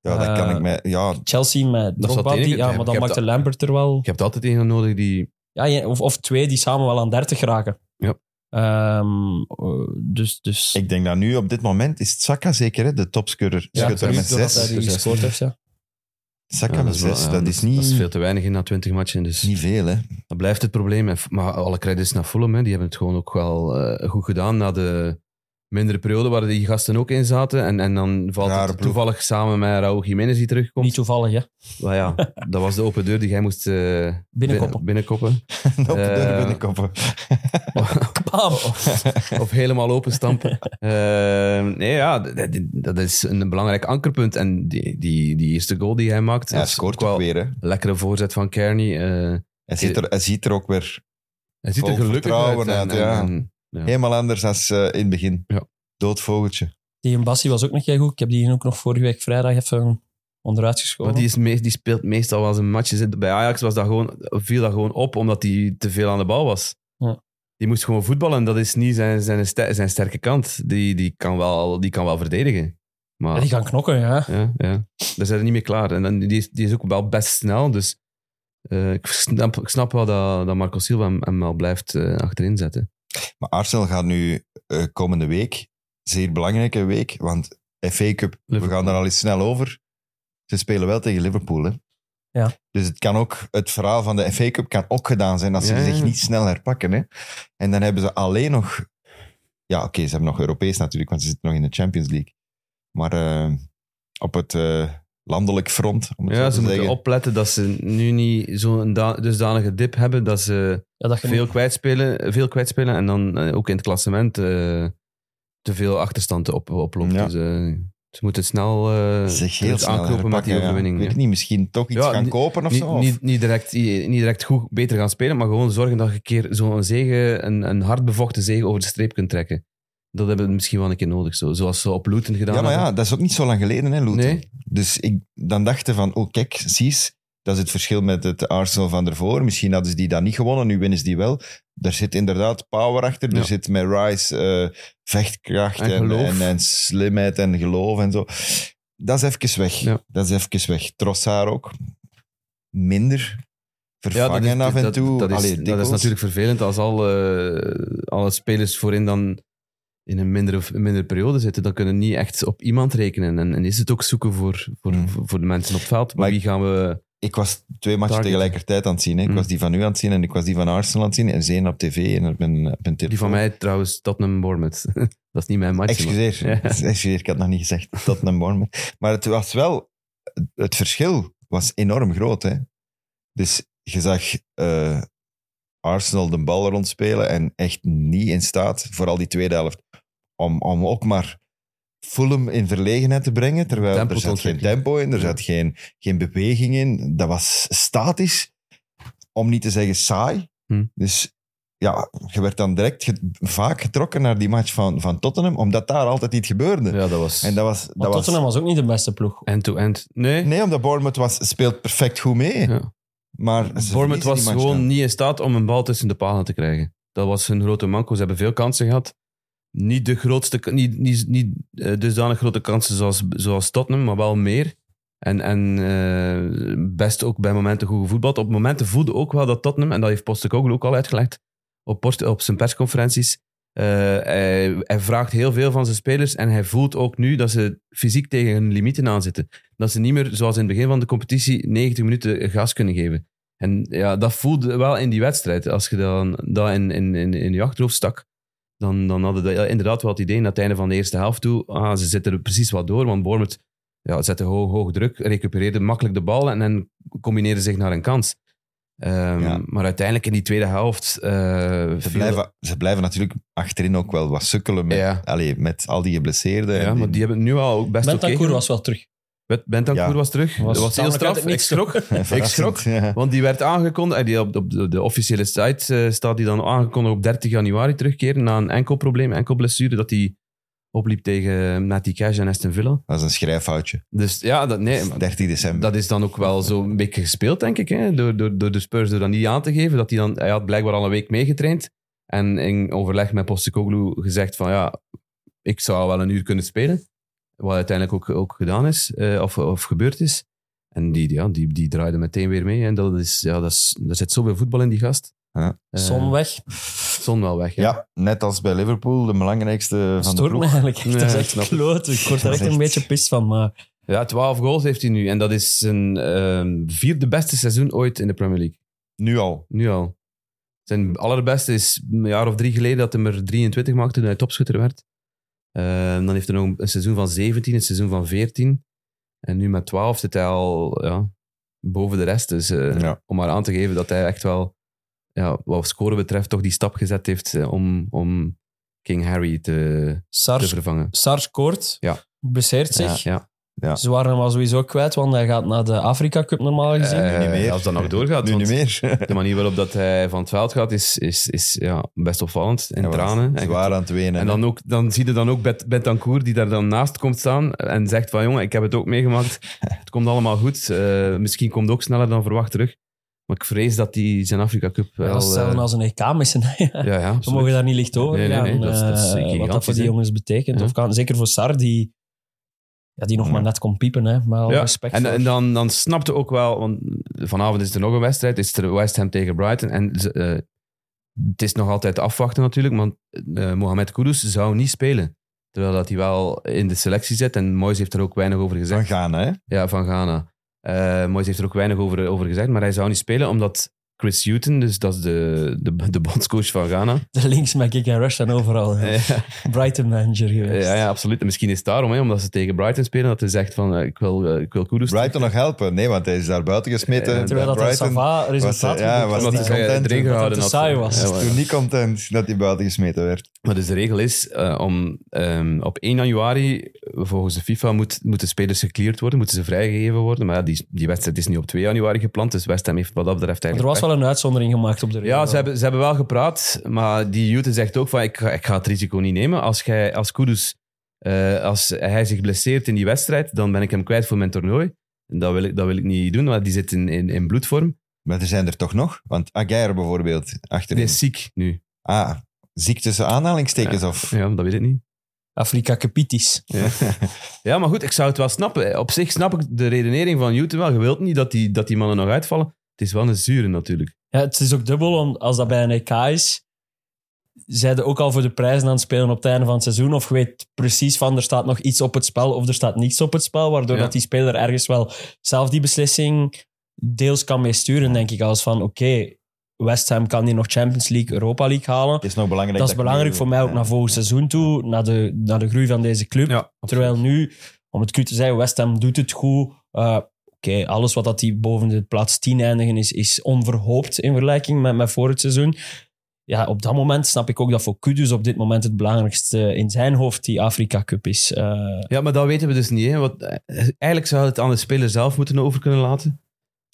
A: ja, dat kan
B: eh,
A: ik mij... Ja,
B: Chelsea met
C: is wat
B: Drogba,
C: het enige.
B: die- ja, maar
C: Ik
B: dan
C: heb
B: maakte
C: dat-
B: Lampert er wel...
C: Je hebt altijd iemand nodig die...
B: Ja, je- of, of twee die samen wel aan 30 raken.
C: Ja.
B: Ehm, eh, dus... dus
A: ik denk dat nu op dit moment is het Saka zeker, hè, de topscorer.
B: ja,
A: Schutter
B: nu,
A: met
B: doordat hij
A: zes.
B: die gescoord heeft, ja.
A: Saka
C: Ja,
A: met
C: dus wel-
A: zes,
C: ja,
A: dat is niet,
C: Dat is veel te weinig in na 20 matchen. Dus
A: niet veel, hè.
C: dat blijft het probleem. En f- Maar alle credits naar Fulham. Hè. Die hebben het gewoon ook wel eh, goed gedaan na de mindere periode waar die gasten ook in zaten. En, en dan valt
A: Rare
C: het
A: ploeg.
C: toevallig samen met Raúl Jiménez die terugkomt.
B: Niet toevallig, hè.
C: Maar ja, dat was de open deur die jij moest eh,
B: Binnenkoppen.
C: binnen- binnenkoppen.
A: Op de deur
C: Eh,
A: binnenkoppen.
B: Bam!
C: of helemaal openstampen. Eh, nee, ja, d- d- dat is een belangrijk ankerpunt. En die, die, die eerste goal die hij
A: Ja,
C: maakt,
A: hij
C: dat is
A: scoort
C: ook
A: ook
C: wel
A: weer, hè.
C: een lekkere voorzet van Kearney. eh
A: Hij ziet, er, hij ziet er ook weer
C: Hij ziet er
A: Vol
C: gelukkig uit.
A: vertrouwen
C: en-
A: uit,
C: en-
A: ja.
C: en-
A: helemaal anders dan eh, in het begin.
C: Ja.
A: Dood vogeltje.
B: Die Mbassi was ook nog heel goed. Ik heb die ook nog vorige week vrijdag even onderuit
C: maar
B: geschoven.
C: die, is meest, die speelt meestal wel zijn matches. in. Bij Ajax was dat gewoon, viel dat gewoon op omdat hij te veel aan de bal was.
B: Ja.
C: Die moest gewoon voetballen. Dat is niet zijn, zijn, ster- zijn sterke kant. Die, die, kan wel, die kan wel verdedigen. Maar
B: Ja, die gaan knokken, ja.
C: Ja, ja. Daar zijn we niet mee klaar. En dan, die, is, die is ook wel best snel. Dus eh, ik, snap, ik snap wel dat, dat Marco Silva hem, hem wel blijft eh, achterin zetten.
A: Maar Arsenal gaat nu eh, komende week, zeer belangrijke week, want FA Cup, we
C: Liverpool.
A: gaan daar al eens snel over. Ze spelen wel tegen Liverpool, hè.
B: Ja.
A: Dus het, kan ook, het verhaal van de FA Cup kan ook gedaan zijn als ze
C: Ja, ja.
A: zich niet snel herpakken. Hè. En dan hebben ze alleen nog... Ja, oké, ze hebben nog Europees natuurlijk, want ze zitten nog in de Champions League. Maar eh, op het eh, landelijk front, om het zo
C: Ja,
A: te
C: ze moeten
A: zeggen.
C: opletten dat ze nu niet zo'n da- dusdanige dip hebben dat ze...
B: ja dat je
C: veel kwijtspelen, veel kwijtspelen en dan eh, ook in het klassement eh, te veel achterstanden op, oplopen.
A: Ja.
C: Dus, eh, ze moeten snel eh
A: zich heel
C: terug
A: snel
C: aanknopen met
A: herpakken,
C: die
A: ja.
C: overwinning.
A: Ik
C: ja.
A: weet niet, misschien toch iets
C: Ja,
A: gaan
C: niet-
A: kopen of
C: Niet,
A: zo? of-
C: niet, niet direct, niet direct goed beter gaan spelen, maar gewoon zorgen dat je een keer zo'n zege, een, een hard bevochten zege over de streep kunt trekken. Dat hebben we misschien wel een keer nodig, zo. zoals ze op Luton gedaan
A: Ja, maar
C: hebben.
A: ja, dat is ook niet zo lang geleden, hè, Luton.
C: Nee.
A: Dus ik, dan dachten van, oh kijk, Cies, dat is het verschil met het Arsenal van ervoor. Misschien hadden ze die dan niet gewonnen, nu winnen ze die wel. Daar zit inderdaad power achter,
C: Ja.
A: er zit met Rice eh, vechtkracht
C: En
A: en, en,
C: geloof.
A: en, slimheid en geloof en zo. Dat is even weg.
C: Ja.
A: Dat is even weg. Trossard ook. Minder. Vervangen
C: dat is-
A: af en
C: dat-
A: toe.
C: Dat is,
A: Allee,
C: dat
A: dikwijls.
C: is natuurlijk vervelend als alle, alle spelers voorin dan in een mindere, een mindere periode zitten. Dan kunnen we niet echt op iemand rekenen. En, en is het ook zoeken voor, voor,
A: Mm.
C: voor de mensen op het veld. Maar
A: Maar
C: wie
A: ik-
C: gaan we...
A: Ik was twee matchen
C: Target.
A: tegelijkertijd aan het zien. Hè. Ik
C: Mm.
A: was die van u aan het zien en ik was die van Arsenal aan het zien. En ze één op tv en op mijn, op mijn telefoon.
C: Die van mij trouwens, Tottenham Bournemouth. dat is niet mijn match. maar-
A: Excuseer.
C: Ja.
A: Excuseer, ik had nog niet gezegd. Tottenham Bournemouth. Maar het was wel... Het verschil was enorm groot. Hè? Dus je zag eh, Arsenal de bal rondspelen en echt niet in staat, vooral die tweede helft, om, om ook maar Fulham in verlegenheid te brengen. Terwijl er
C: Tempo te
A: zat geen
C: ontwikkelen.
A: tempo in, er
C: Ja.
A: zat geen, geen beweging in. Dat was statisch, om niet te zeggen saai.
C: Hm.
A: Dus ja, je werd dan direct ge- vaak getrokken naar die match van, van Tottenham, omdat daar altijd iets gebeurde.
C: Ja, dat was...
A: En dat was...
B: Maar
A: Dat
B: Tottenham
A: was
B: was ook niet de beste ploeg.
C: End-to-end. Nee.
A: nee, omdat Bournemouth was, speelt perfect goed mee.
C: Ja.
A: Maar ze verliezen
C: Bournemouth
A: die
C: was
A: match
C: gewoon
A: dan.
C: niet in staat om een bal tussen de palen te krijgen. Dat was hun grote manco. Ze hebben veel kansen gehad. Niet de grootste, niet, niet, niet eh, dusdanig grote kansen zoals, zoals Tottenham, maar wel meer. En, en eh, best ook bij momenten goed gevoetbald. Op momenten voelde ook wel dat Tottenham, en dat heeft Postecoglou ook al uitgelegd op, post- op zijn persconferenties, eh, hij, hij vraagt heel veel van zijn spelers en hij voelt ook nu dat ze fysiek tegen hun limieten aan zitten. Dat ze niet meer, zoals in het begin van de competitie, 90 minuten gas kunnen geven. En ja, dat voelde wel in die wedstrijd. Als je dan, dat in, in, in, in je achterhoofd stak, dan, dan hadden we inderdaad wel het idee aan het einde van de eerste helft toe, ah, ze zitten er precies wat door, want Bournemouth ja, zette hoog, hoog druk, recupereerde makkelijk de bal en, dan combineerde zich naar een kans. Ehm,
A: Ja.
C: Maar uiteindelijk in die tweede helft... eh,
A: Ze
C: viel-
A: blijven, ze blijven natuurlijk achterin ook wel wat sukkelen met,
C: Ja.
A: allee, met al die geblesseerden.
C: Ja,
A: en
C: maar die hebben het nu al ook best oké.
B: Bentancur
C: gedaan.
B: was wel terug.
C: Bent- Bentancur
A: Ja.
C: was terug. Dat was heel
B: Tamelijk uit
C: straf.
B: het
C: Ik
B: niets.
C: schrok. Ik
A: verrassend,
C: schrok.
A: ja.
C: Want die werd aangekondigd, eh, die op, op de, de officiële site eh, staat die dan aangekondigd op 30 januari terugkeren na een enkel probleem, enkel blessure, dat hij opliep tegen Matty Cash en Aston Villa.
A: Dat is een schrijffoutje.
C: Dus ja, dat, nee, maar
A: 13 december.
C: dat is dan ook wel zo'n beetje gespeeld, denk ik, hè? Door, door, door de Spurs door dat niet aan te geven. Dat hij, dan, hij had blijkbaar al een week meegetraind en in overleg met Postecoglou gezegd van ja, ik zou wel een uur kunnen spelen. Wat uiteindelijk ook, ook gedaan is, eh, of, of gebeurd is. En die, ja, die, die draaide meteen weer mee. En dat is, ja, dat is, er zit zoveel voetbal in die gast.
A: Ja.
C: Eh,
B: Som weg.
C: Son wel weg. hè.
A: ja, net als bij Liverpool, de belangrijkste van de
B: Stoort me
A: ploeg.
B: eigenlijk echt.
C: Nee,
B: dat is
C: ik snap
B: echt
C: het.
B: kloot. Ik
A: Dat
B: word er
A: is
B: echt een
A: echt-
B: beetje pist van. Maar
C: ja, 12 goals heeft hij nu. En dat is zijn ehm, vierde beste seizoen ooit in de Premier League.
A: Nu al.
C: Nu al. Zijn allerbeste is een jaar of drie geleden dat hij er 23 maakte toen hij topschutter werd. Ehm, dan heeft hij nog een- een seizoen van 17, een seizoen van 14. En nu met 12 zit hij al ja, boven de rest. Dus eh,
A: Ja.
C: om maar aan te geven dat hij echt wel, ja, wat scoren betreft, toch die stap gezet heeft eh, om, om King Harry te, te
B: Sars,
C: vervangen.
B: Sars koort.
C: Ja.
B: Blesseert zich.
C: Ja,
A: Ja.
B: Ze waren hem al sowieso kwijt, want hij gaat naar de Afrika Cup normaal gezien.
C: Eh,
A: niet meer.
C: als dat nog doorgaat.
A: nu
C: want-
A: niet meer.
C: De manier waarop dat hij van het veld gaat is, is, is ja, best opvallend. En
A: Ja,
C: tranen. En
A: Zwaar aan het wenen.
C: En dan, ook, dan zie je dan ook Bet- Bentancur die daar dan naast komt staan en zegt van jongen, ik heb het ook meegemaakt. Het komt allemaal goed. Eh, misschien komt het ook sneller dan verwacht terug. Maar ik vrees dat hij zijn Afrika Cup wel...
B: Ja, dat is
C: eh,
B: hetzelfde als een EK missen.
C: ja, ja,
B: We
C: absoluut.
B: mogen daar niet licht over
C: Nee, nee,
B: gaan.
C: nee, dat is- dat is
B: eh, wat dat
C: gigantisch,
B: voor die
C: hè.
B: jongens betekent.
C: Ja.
B: Of kan, zeker voor Sar, die, ja, die nog
A: Ja.
B: maar net kon piepen. Hè. Maar al
C: Ja,
B: respect
C: En,
B: voor-
C: en dan, dan snapte ook wel, want vanavond is er nog een wedstrijd, is er West Ham tegen Brighton. En ze, eh, het is nog altijd afwachten natuurlijk, want eh, Mohamed Kudus zou niet spelen. Terwijl dat hij wel in de selectie zit en Moyes heeft er ook weinig over gezegd.
A: Van Ghana, hè?
C: Ja, van Ghana. Eh Moyes heeft er ook weinig over, eh, over gezegd, maar hij zou niet spelen omdat Chris Hutton, dus dat is de, de, de bondscoach van Ghana.
B: de links met Kick en Rush zijn overal. hè.
C: Ja,
B: Brighton manager geweest.
C: ja, ja, absoluut. En misschien is het daarom, hè, omdat ze tegen Brighton spelen, dat hij zegt van eh, ik wil, eh, ik wil Kudus.
A: Brighton nog helpen? Nee, want hij is daar buiten gesmeten.
C: Ja,
B: Terwijl dat een
A: Brighton
B: Sava resultaat
A: was, eh, ja,
B: geboekt
A: was
B: had.
A: niet
C: omdat hij
A: content,
C: erin
A: hè.
C: gehouden
B: Dat het te saai was.
A: was toen
C: maar-
A: niet content dat hij buiten gesmeten werd.
C: Maar dus de regel is, eh, om, ehm, op 1 januari, volgens de FIFA, moet, moeten spelers gecleared worden, moeten ze vrijgegeven worden. Maar ja, die, die wedstrijd is nu op 2 januari gepland, dus West Ham heeft wat dat betreft
B: Er
C: eigenlijk
B: was wel een uitzondering gemaakt op de
C: pech. Ja, ze hebben, ze hebben wel gepraat, maar die Jute zegt ook van, ik ga, ik ga het risico niet nemen. Als, jij, als Kudus, eh, als hij zich blesseert in die wedstrijd, dan ben ik hem kwijt voor mijn toernooi. En dat wil ik, dat wil ik niet doen, want die zit in, in, in bloedvorm.
A: Maar er zijn er toch nog? Want Aguirre bijvoorbeeld,
C: Die
A: achterin.
C: is ziek nu.
A: Ah, ziek tussen aanhalingstekens of...
C: Ja, dat weet ik niet.
B: Afrika Capitis.
C: Ja, maar goed, ik zou het wel snappen. Op zich snap ik de redenering van Jute wel. Je wilt niet dat die, dat die mannen nog uitvallen. Het is wel een zure natuurlijk.
B: Ja, het is ook dubbel, want als dat bij een EK is, zijde ook al voor de prijzen aan het spelen op het einde van het seizoen. Of je weet precies van er staat nog iets op het spel of er staat niets op het spel. Waardoor
C: Ja.
B: dat die speler ergens wel zelf die beslissing deels kan meesturen, denk ik. Als van oké, West Ham kan hier nog Champions League, Europa League halen.
A: Het is nog belangrijk eh,
B: Dat is
A: ik
B: belangrijk
A: nu-
B: voor mij ook
A: Ja.
B: naar volgend seizoen toe, naar de, naar de groei van deze club. Terwijl nu, om het cru te zeggen, West Ham doet het goed. Eh, Oké, alles wat dat die boven de plaats 10 eindigen is, is onverhoopt in vergelijking met, met voor het seizoen. Ja, op dat moment snap ik ook dat voor Kudus op dit moment het belangrijkste in zijn hoofd die Afrika Cup is. Eh,
C: Ja, maar dat weten we dus niet. Hè? Want, eh, eigenlijk zou het aan de speler zelf moeten over kunnen laten.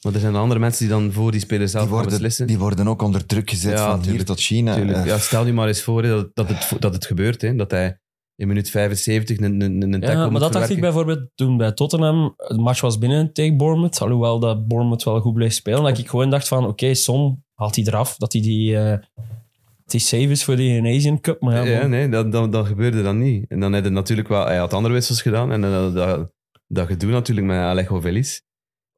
C: Maar er zijn andere mensen die dan voor die speler zelf
A: Die
C: gaan
A: worden,
C: beslissen.
A: die worden ook onder druk gezet
C: Ja,
A: van hier
C: tuurlijk.
A: tot China.
C: Tuurlijk.
A: Eh,
C: Ja, stel nu maar eens voor hè, dat, dat, het, vo- dat het gebeurt. Hè? Dat hij in minuut 75 een, een, een tackle
B: ja, maar
C: moet
B: dat dacht ik
C: verwerken.
B: bijvoorbeeld toen bij Tottenham. Het match was binnen tegen Bournemouth. Alhoewel dat Bournemouth wel goed bleef spelen. Dat ik gewoon dacht van, oké, Son haalt hij eraf. Dat hij die... eh, het is safe is voor die Asian Cup. Maar ja, bon.
C: Ja, nee, dat, dat, dat gebeurde dan niet. En dan had hij natuurlijk wel... Hij had andere wissels gedaan. En dan, dat, dat, dat gedoe natuurlijk met Alejo Velis.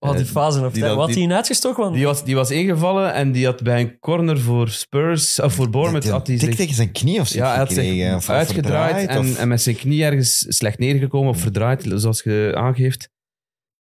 B: Oh, die
C: Eh,
B: fase op
C: die
B: tijd.
C: dat-
B: Wat
C: die-
B: die inetgestoken? Want
C: Die was, die was ingevallen en die had bij een corner voor Spurs, of voor Bournemouth,
A: die-
C: had hij
A: die tik
C: zich-
A: tegen zijn knie of zo
C: ja, hij had
A: gekregen,
C: zich
A: of- of
C: uitgedraaid
A: verdraaid,
C: en,
A: of-
C: en met zijn knie ergens slecht neergekomen of verdraaid, zoals je aangeeft.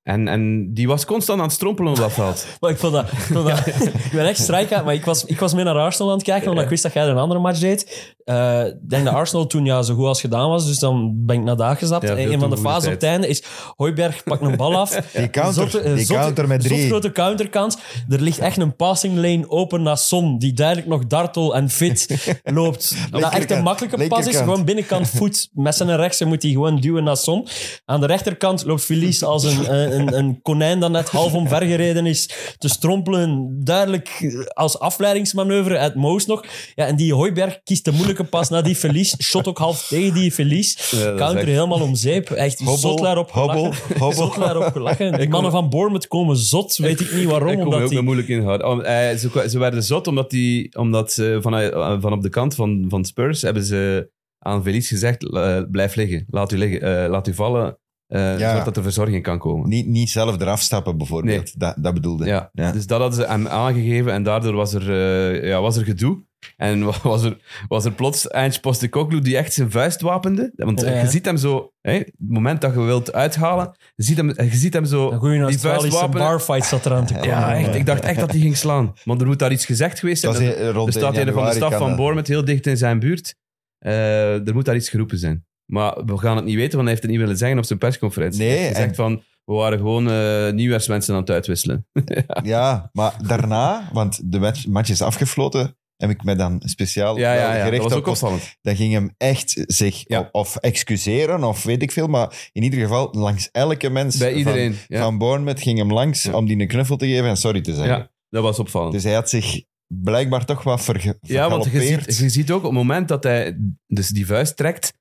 C: En, en die was constant aan het strompelen op dat veld.
B: Maar ik vond dat... ik vond dat- ik ben echt strijk maar ik was, ik was mee naar Arsenal aan het kijken, omdat ik wist dat jij een andere match deed. Eh, Ik denk dat Arsenal toen ja, zo goed als gedaan was, dus dan ben ik naar daar gestapt.
C: Ja,
B: En
C: veel te
B: een van de
C: goede
B: fases op
C: tijd.
B: het einde is Hooiberg pakt een bal af.
A: Die counter,
B: Zotte- eh,
A: die
B: zotte-
A: counter met drie.
B: zotte grote counterkans. Er ligt echt een passing lane open naar Son, die duidelijk nog dartel en fit loopt. dat echt een
A: Linkerkant,
B: makkelijke pas is.
A: linkerkant.
B: Gewoon binnenkant voet, met zijn rechtse moet hij gewoon duwen naar Son. Aan de rechterkant loopt Felice als een, eh, een, een konijn dat net half omvergereden is te strompelen. Duidelijk als afleidingsmanoeuvre uit Moos nog. Ja, en die Hooiberg kiest de moeilijke pas naar die Felice. Shot ook half tegen die Felice.
C: Ja, dat is
B: Counter
C: echt-
B: helemaal om zeep. Echt
A: Hobbel,
B: zot daarop
A: hobbel,
B: gelachen.
A: hobbel.
B: Zot daarop gelachen. Die mannen van Bournemouth komen zot, weet ik niet waarom.
C: Ik kon me
B: omdat
C: ook
B: die...
C: nog moeilijk inhouden. Om, eh, ze, ze werden zot omdat, die, omdat ze vanuit, eh, van op de kant van, van Spurs hebben ze aan Felice gezegd: eh, blijf liggen, laat u, liggen, eh, laat u vallen, eh
A: Ja.
C: zodat er verzorging kan komen.
A: Niet, niet zelf eraf stappen, bijvoorbeeld. Dat, dat bedoelde.
C: Ja.
A: Ja.
C: dus dat hadden ze hem aangegeven en daardoor was er, eh, ja, was er gedoe. En wa- was er, was er plots Eindje Postecoglou die echt zijn vuist wapende. Want eh,
B: Ja, ja.
C: je ziet hem zo, hè, het moment dat je wilt uithalen, je ziet hem, je ziet hem zo
B: Een goede
C: die vuist
B: Australische
C: wapenen.
B: barfight zat eraan te komen.
C: Ja, echt, ik dacht echt dat hij ging slaan. Want Oh. er moet daar iets gezegd geweest zijn.
A: Dat is, eh, rond
C: Er staat
A: 1
C: een van de
A: januari
C: staf
A: kan
C: van
A: dat.
C: Bournemouth heel dicht in zijn buurt. Eh, er moet daar iets geroepen zijn. Maar we gaan het niet weten, want hij heeft het niet willen zeggen op zijn persconferentie.
A: Nee,
C: hij heeft gezegd
A: en-
C: van, we waren gewoon eh, nieuwjaarswensen aan het uitwisselen.
A: Ja, maar daarna, want de match, match is afgefloten, heb ik me dan speciaal
C: Ja,
A: wel
C: ja, ja. dat
A: gericht
C: was
A: op
C: ook opvallend.
A: Dan ging hem echt zich
C: Ja.
A: of, of excuseren of weet ik veel, maar in ieder geval langs elke mens
C: Bij iedereen.
A: van,
C: ja.
A: van Bournemouth ging hem langs
C: Ja.
A: om die een knuffel te geven en sorry te zeggen.
C: ja, dat was opvallend.
A: Dus hij had zich blijkbaar toch wat verge
C: ja, want je
A: vergalopeerd.
C: ziet, je ziet ook op het moment dat hij dus die vuist trekt,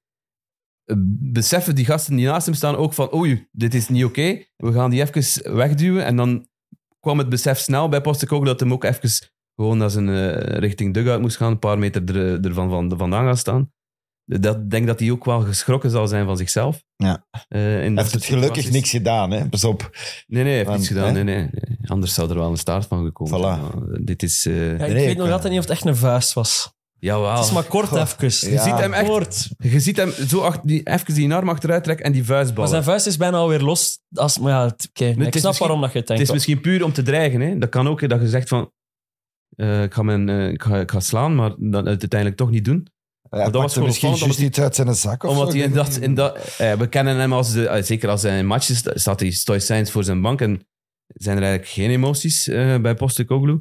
C: eh, beseffen die gasten die naast hem staan ook van, oei, dit is niet oké, we gaan die even wegduwen. En dan kwam het besef snel bij Postecoglou dat hem ook even gewoon naar zijn eh, richting dugout moest gaan, een paar meter er, eh, ervan van, vandaan gaan staan. Dat, ik denk dat hij ook wel geschrokken zal zijn van zichzelf.
A: Ja.
C: Eh, in
A: Hij
C: dat
A: heeft
C: soort
A: het gelukkig
C: situaties.
A: niks gedaan, hè. Pas op.
C: Nee, nee, hij heeft
A: Want,
C: niets gedaan.
A: hè?
C: Nee, nee, nee. Anders zou er wel een staart van gekomen
A: Voilà.
C: zijn. Maar Dit is... eh
B: Ja, ik
A: Nee,
B: weet Ah.
A: ik-
B: nog altijd niet of het echt een vuist was.
C: jawel.
B: Het is maar kort
A: Goh.
B: even.
A: Je Ja. ziet
C: hem echt-
B: Kort.
C: Je ziet hem zo achter, die, even die arm achteruit trekken en die
B: Maar
C: vuistballen.
B: zijn vuist is bijna alweer los. Als, maar ja, het- oké, ik
C: het is
B: snap
C: misschien-
B: waarom dat je het
C: het
B: denkt.
C: is misschien puur om te dreigen. Hè? Dat kan ook, hè, dat je zegt van... eh, ik, ga mijn, eh, ik, ga, ik ga slaan, maar dat het uiteindelijk toch niet doen.
A: Hij
C: dat was
A: pakte
C: gewoon
A: misschien
C: opvallend,
A: juist
C: omdat
A: iets uit zijn zak of
C: Omdat
A: zo.
C: hij in dat... In dat eh, we kennen hem als... De, eh, zeker als hij in matches staat, staat hij stoïcijns voor zijn bank. En zijn er eigenlijk geen emoties eh bij Postecoglou.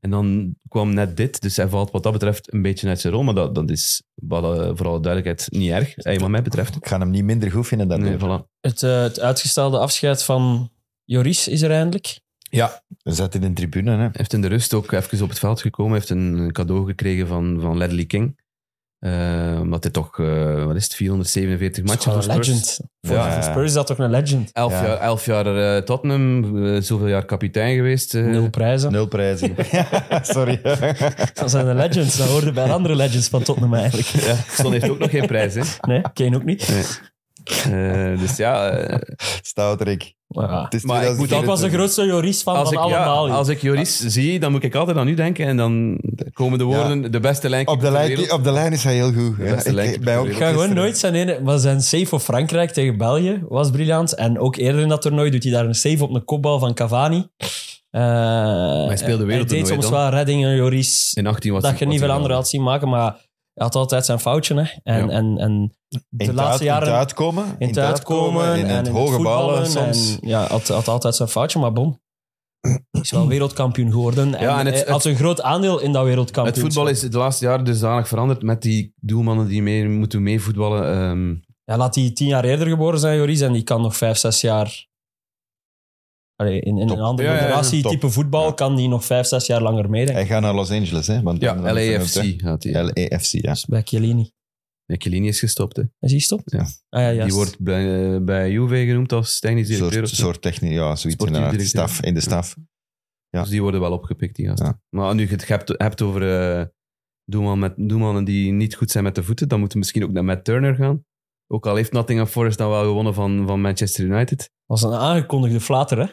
C: En dan kwam net dit. Dus hij valt wat dat betreft een beetje uit zijn rol. Maar dat, dat is wat, eh, voor alle duidelijkheid niet erg. eh, wat mij betreft.
A: Ik ga hem niet minder goed vinden dan
C: Nee, voilà.
B: Het, eh, het uitgestelde afscheid van Joris is er eindelijk.
A: Hij zat in de tribune, hè.
C: heeft in de rust ook even op het veld gekomen. heeft een, een cadeau gekregen van, van Ledley King. Eh, omdat hij toch, eh, wat is het, 447
B: Dat is
C: matchen
B: gewoon
C: voor
B: een
C: Spurs.
B: legend. Voor,
A: Ja.
B: voor Spurs is dat toch een legend.
C: Elf,
A: Ja.
C: jaar, elf jaar eh, Tottenham, eh, zoveel jaar kapitein geweest. eh.
B: Nul prijzen.
A: Nul prijzen. Sorry.
B: Dat zijn de legends. Dat hoorde bij andere legends van Tottenham eigenlijk.
C: Ja, Son heeft ook nog geen prijs. Hè.
B: Nee, Kane ook niet.
C: Eh, dus ja, eh,
A: Stouterik.
B: Ja.
A: Het is
C: Maar ik moet
B: Dat was de
A: 2024.
B: grootste Joris van,
C: als,
B: van
C: ik, ja,
B: allemaal. Ah. joh.
C: als ik Joris zie, dan moet ik altijd aan u denken. En dan komen de woorden, de beste lijn.
A: Op de, lijn, op de lijn is hij heel goed.
C: De beste lijnkeeper
A: ik, bij
C: ter
A: ook
C: wereld.
B: Ik ga gewoon
A: gisteren.
B: nooit zijn ene... Maar zijn save voor Frankrijk tegen België was briljant. En ook eerder in dat toernooi doet hij daar een save op een kopbal van Cavani. Eh,
C: hij speelde
B: Hij
C: wereldtoernooi
B: deed soms
C: dan.
B: wel reddingen, Joris.
C: In 18 was
B: Dat
C: hij-
B: je niet
C: was
B: veel
C: hij
B: anderen had zien maken, maar hij had altijd zijn foutje. Hè. En,
C: Ja.
B: en, en
A: In
B: de
A: het
B: laatste
A: uit- in het
B: jaren...
A: uitkomen.
B: in het uitkomen
A: In
B: en
A: het
B: in
A: hoge ballen
B: voetballen
A: soms.
B: En, ja, had, had altijd zijn foutje, maar bon. Hij is wel wereldkampioen geworden. En,
C: Ja, en het-
B: hij had een groot aandeel in dat
C: Het
B: wereldkampioen.
C: voetbal is de laatste jaren dusdanig veranderd met die doelmannen die mee, moeten meevoetballen. ehm,
B: Ja, laat die tien jaar eerder geboren zijn, Joris, en die kan nog vijf, zes jaar... Allee, in, in
A: Top.
B: een andere
C: Ja, ja, ja,
B: generatie,
A: top.
B: type voetbal, kan die nog vijf, zes jaar langer meedenken.
A: Hij gaat naar Los Angeles, hè? Want
C: Ja,
A: dan- dan-
C: LAFC had hij.
A: LAFC, ja.
B: Dat is bij Chiellini.
C: Nee, Chiellini is gestopt. Hè.
B: Is hij stop?
C: Ja.
B: Ah, ja,
C: Die
B: juist.
C: wordt bij, eh, bij Juve genoemd als technisch
A: Een
C: directeur.
A: soort,
C: of zo.
A: soort technisch, ja, zoiets
C: Sportief
A: inderdaad.
C: directeur.
A: Staf, in de staf. ja.
C: Dus die worden wel opgepikt, die gasten.
A: Ja.
C: Maar nu je het hebt, hebt over eh, doelman met, doelmannen die niet goed zijn met de voeten, dan moeten we misschien ook naar Matt Turner gaan. Ook al heeft Nottingham Forest dan wel gewonnen van, van Manchester United.
B: was een aangekondigde flater, hè?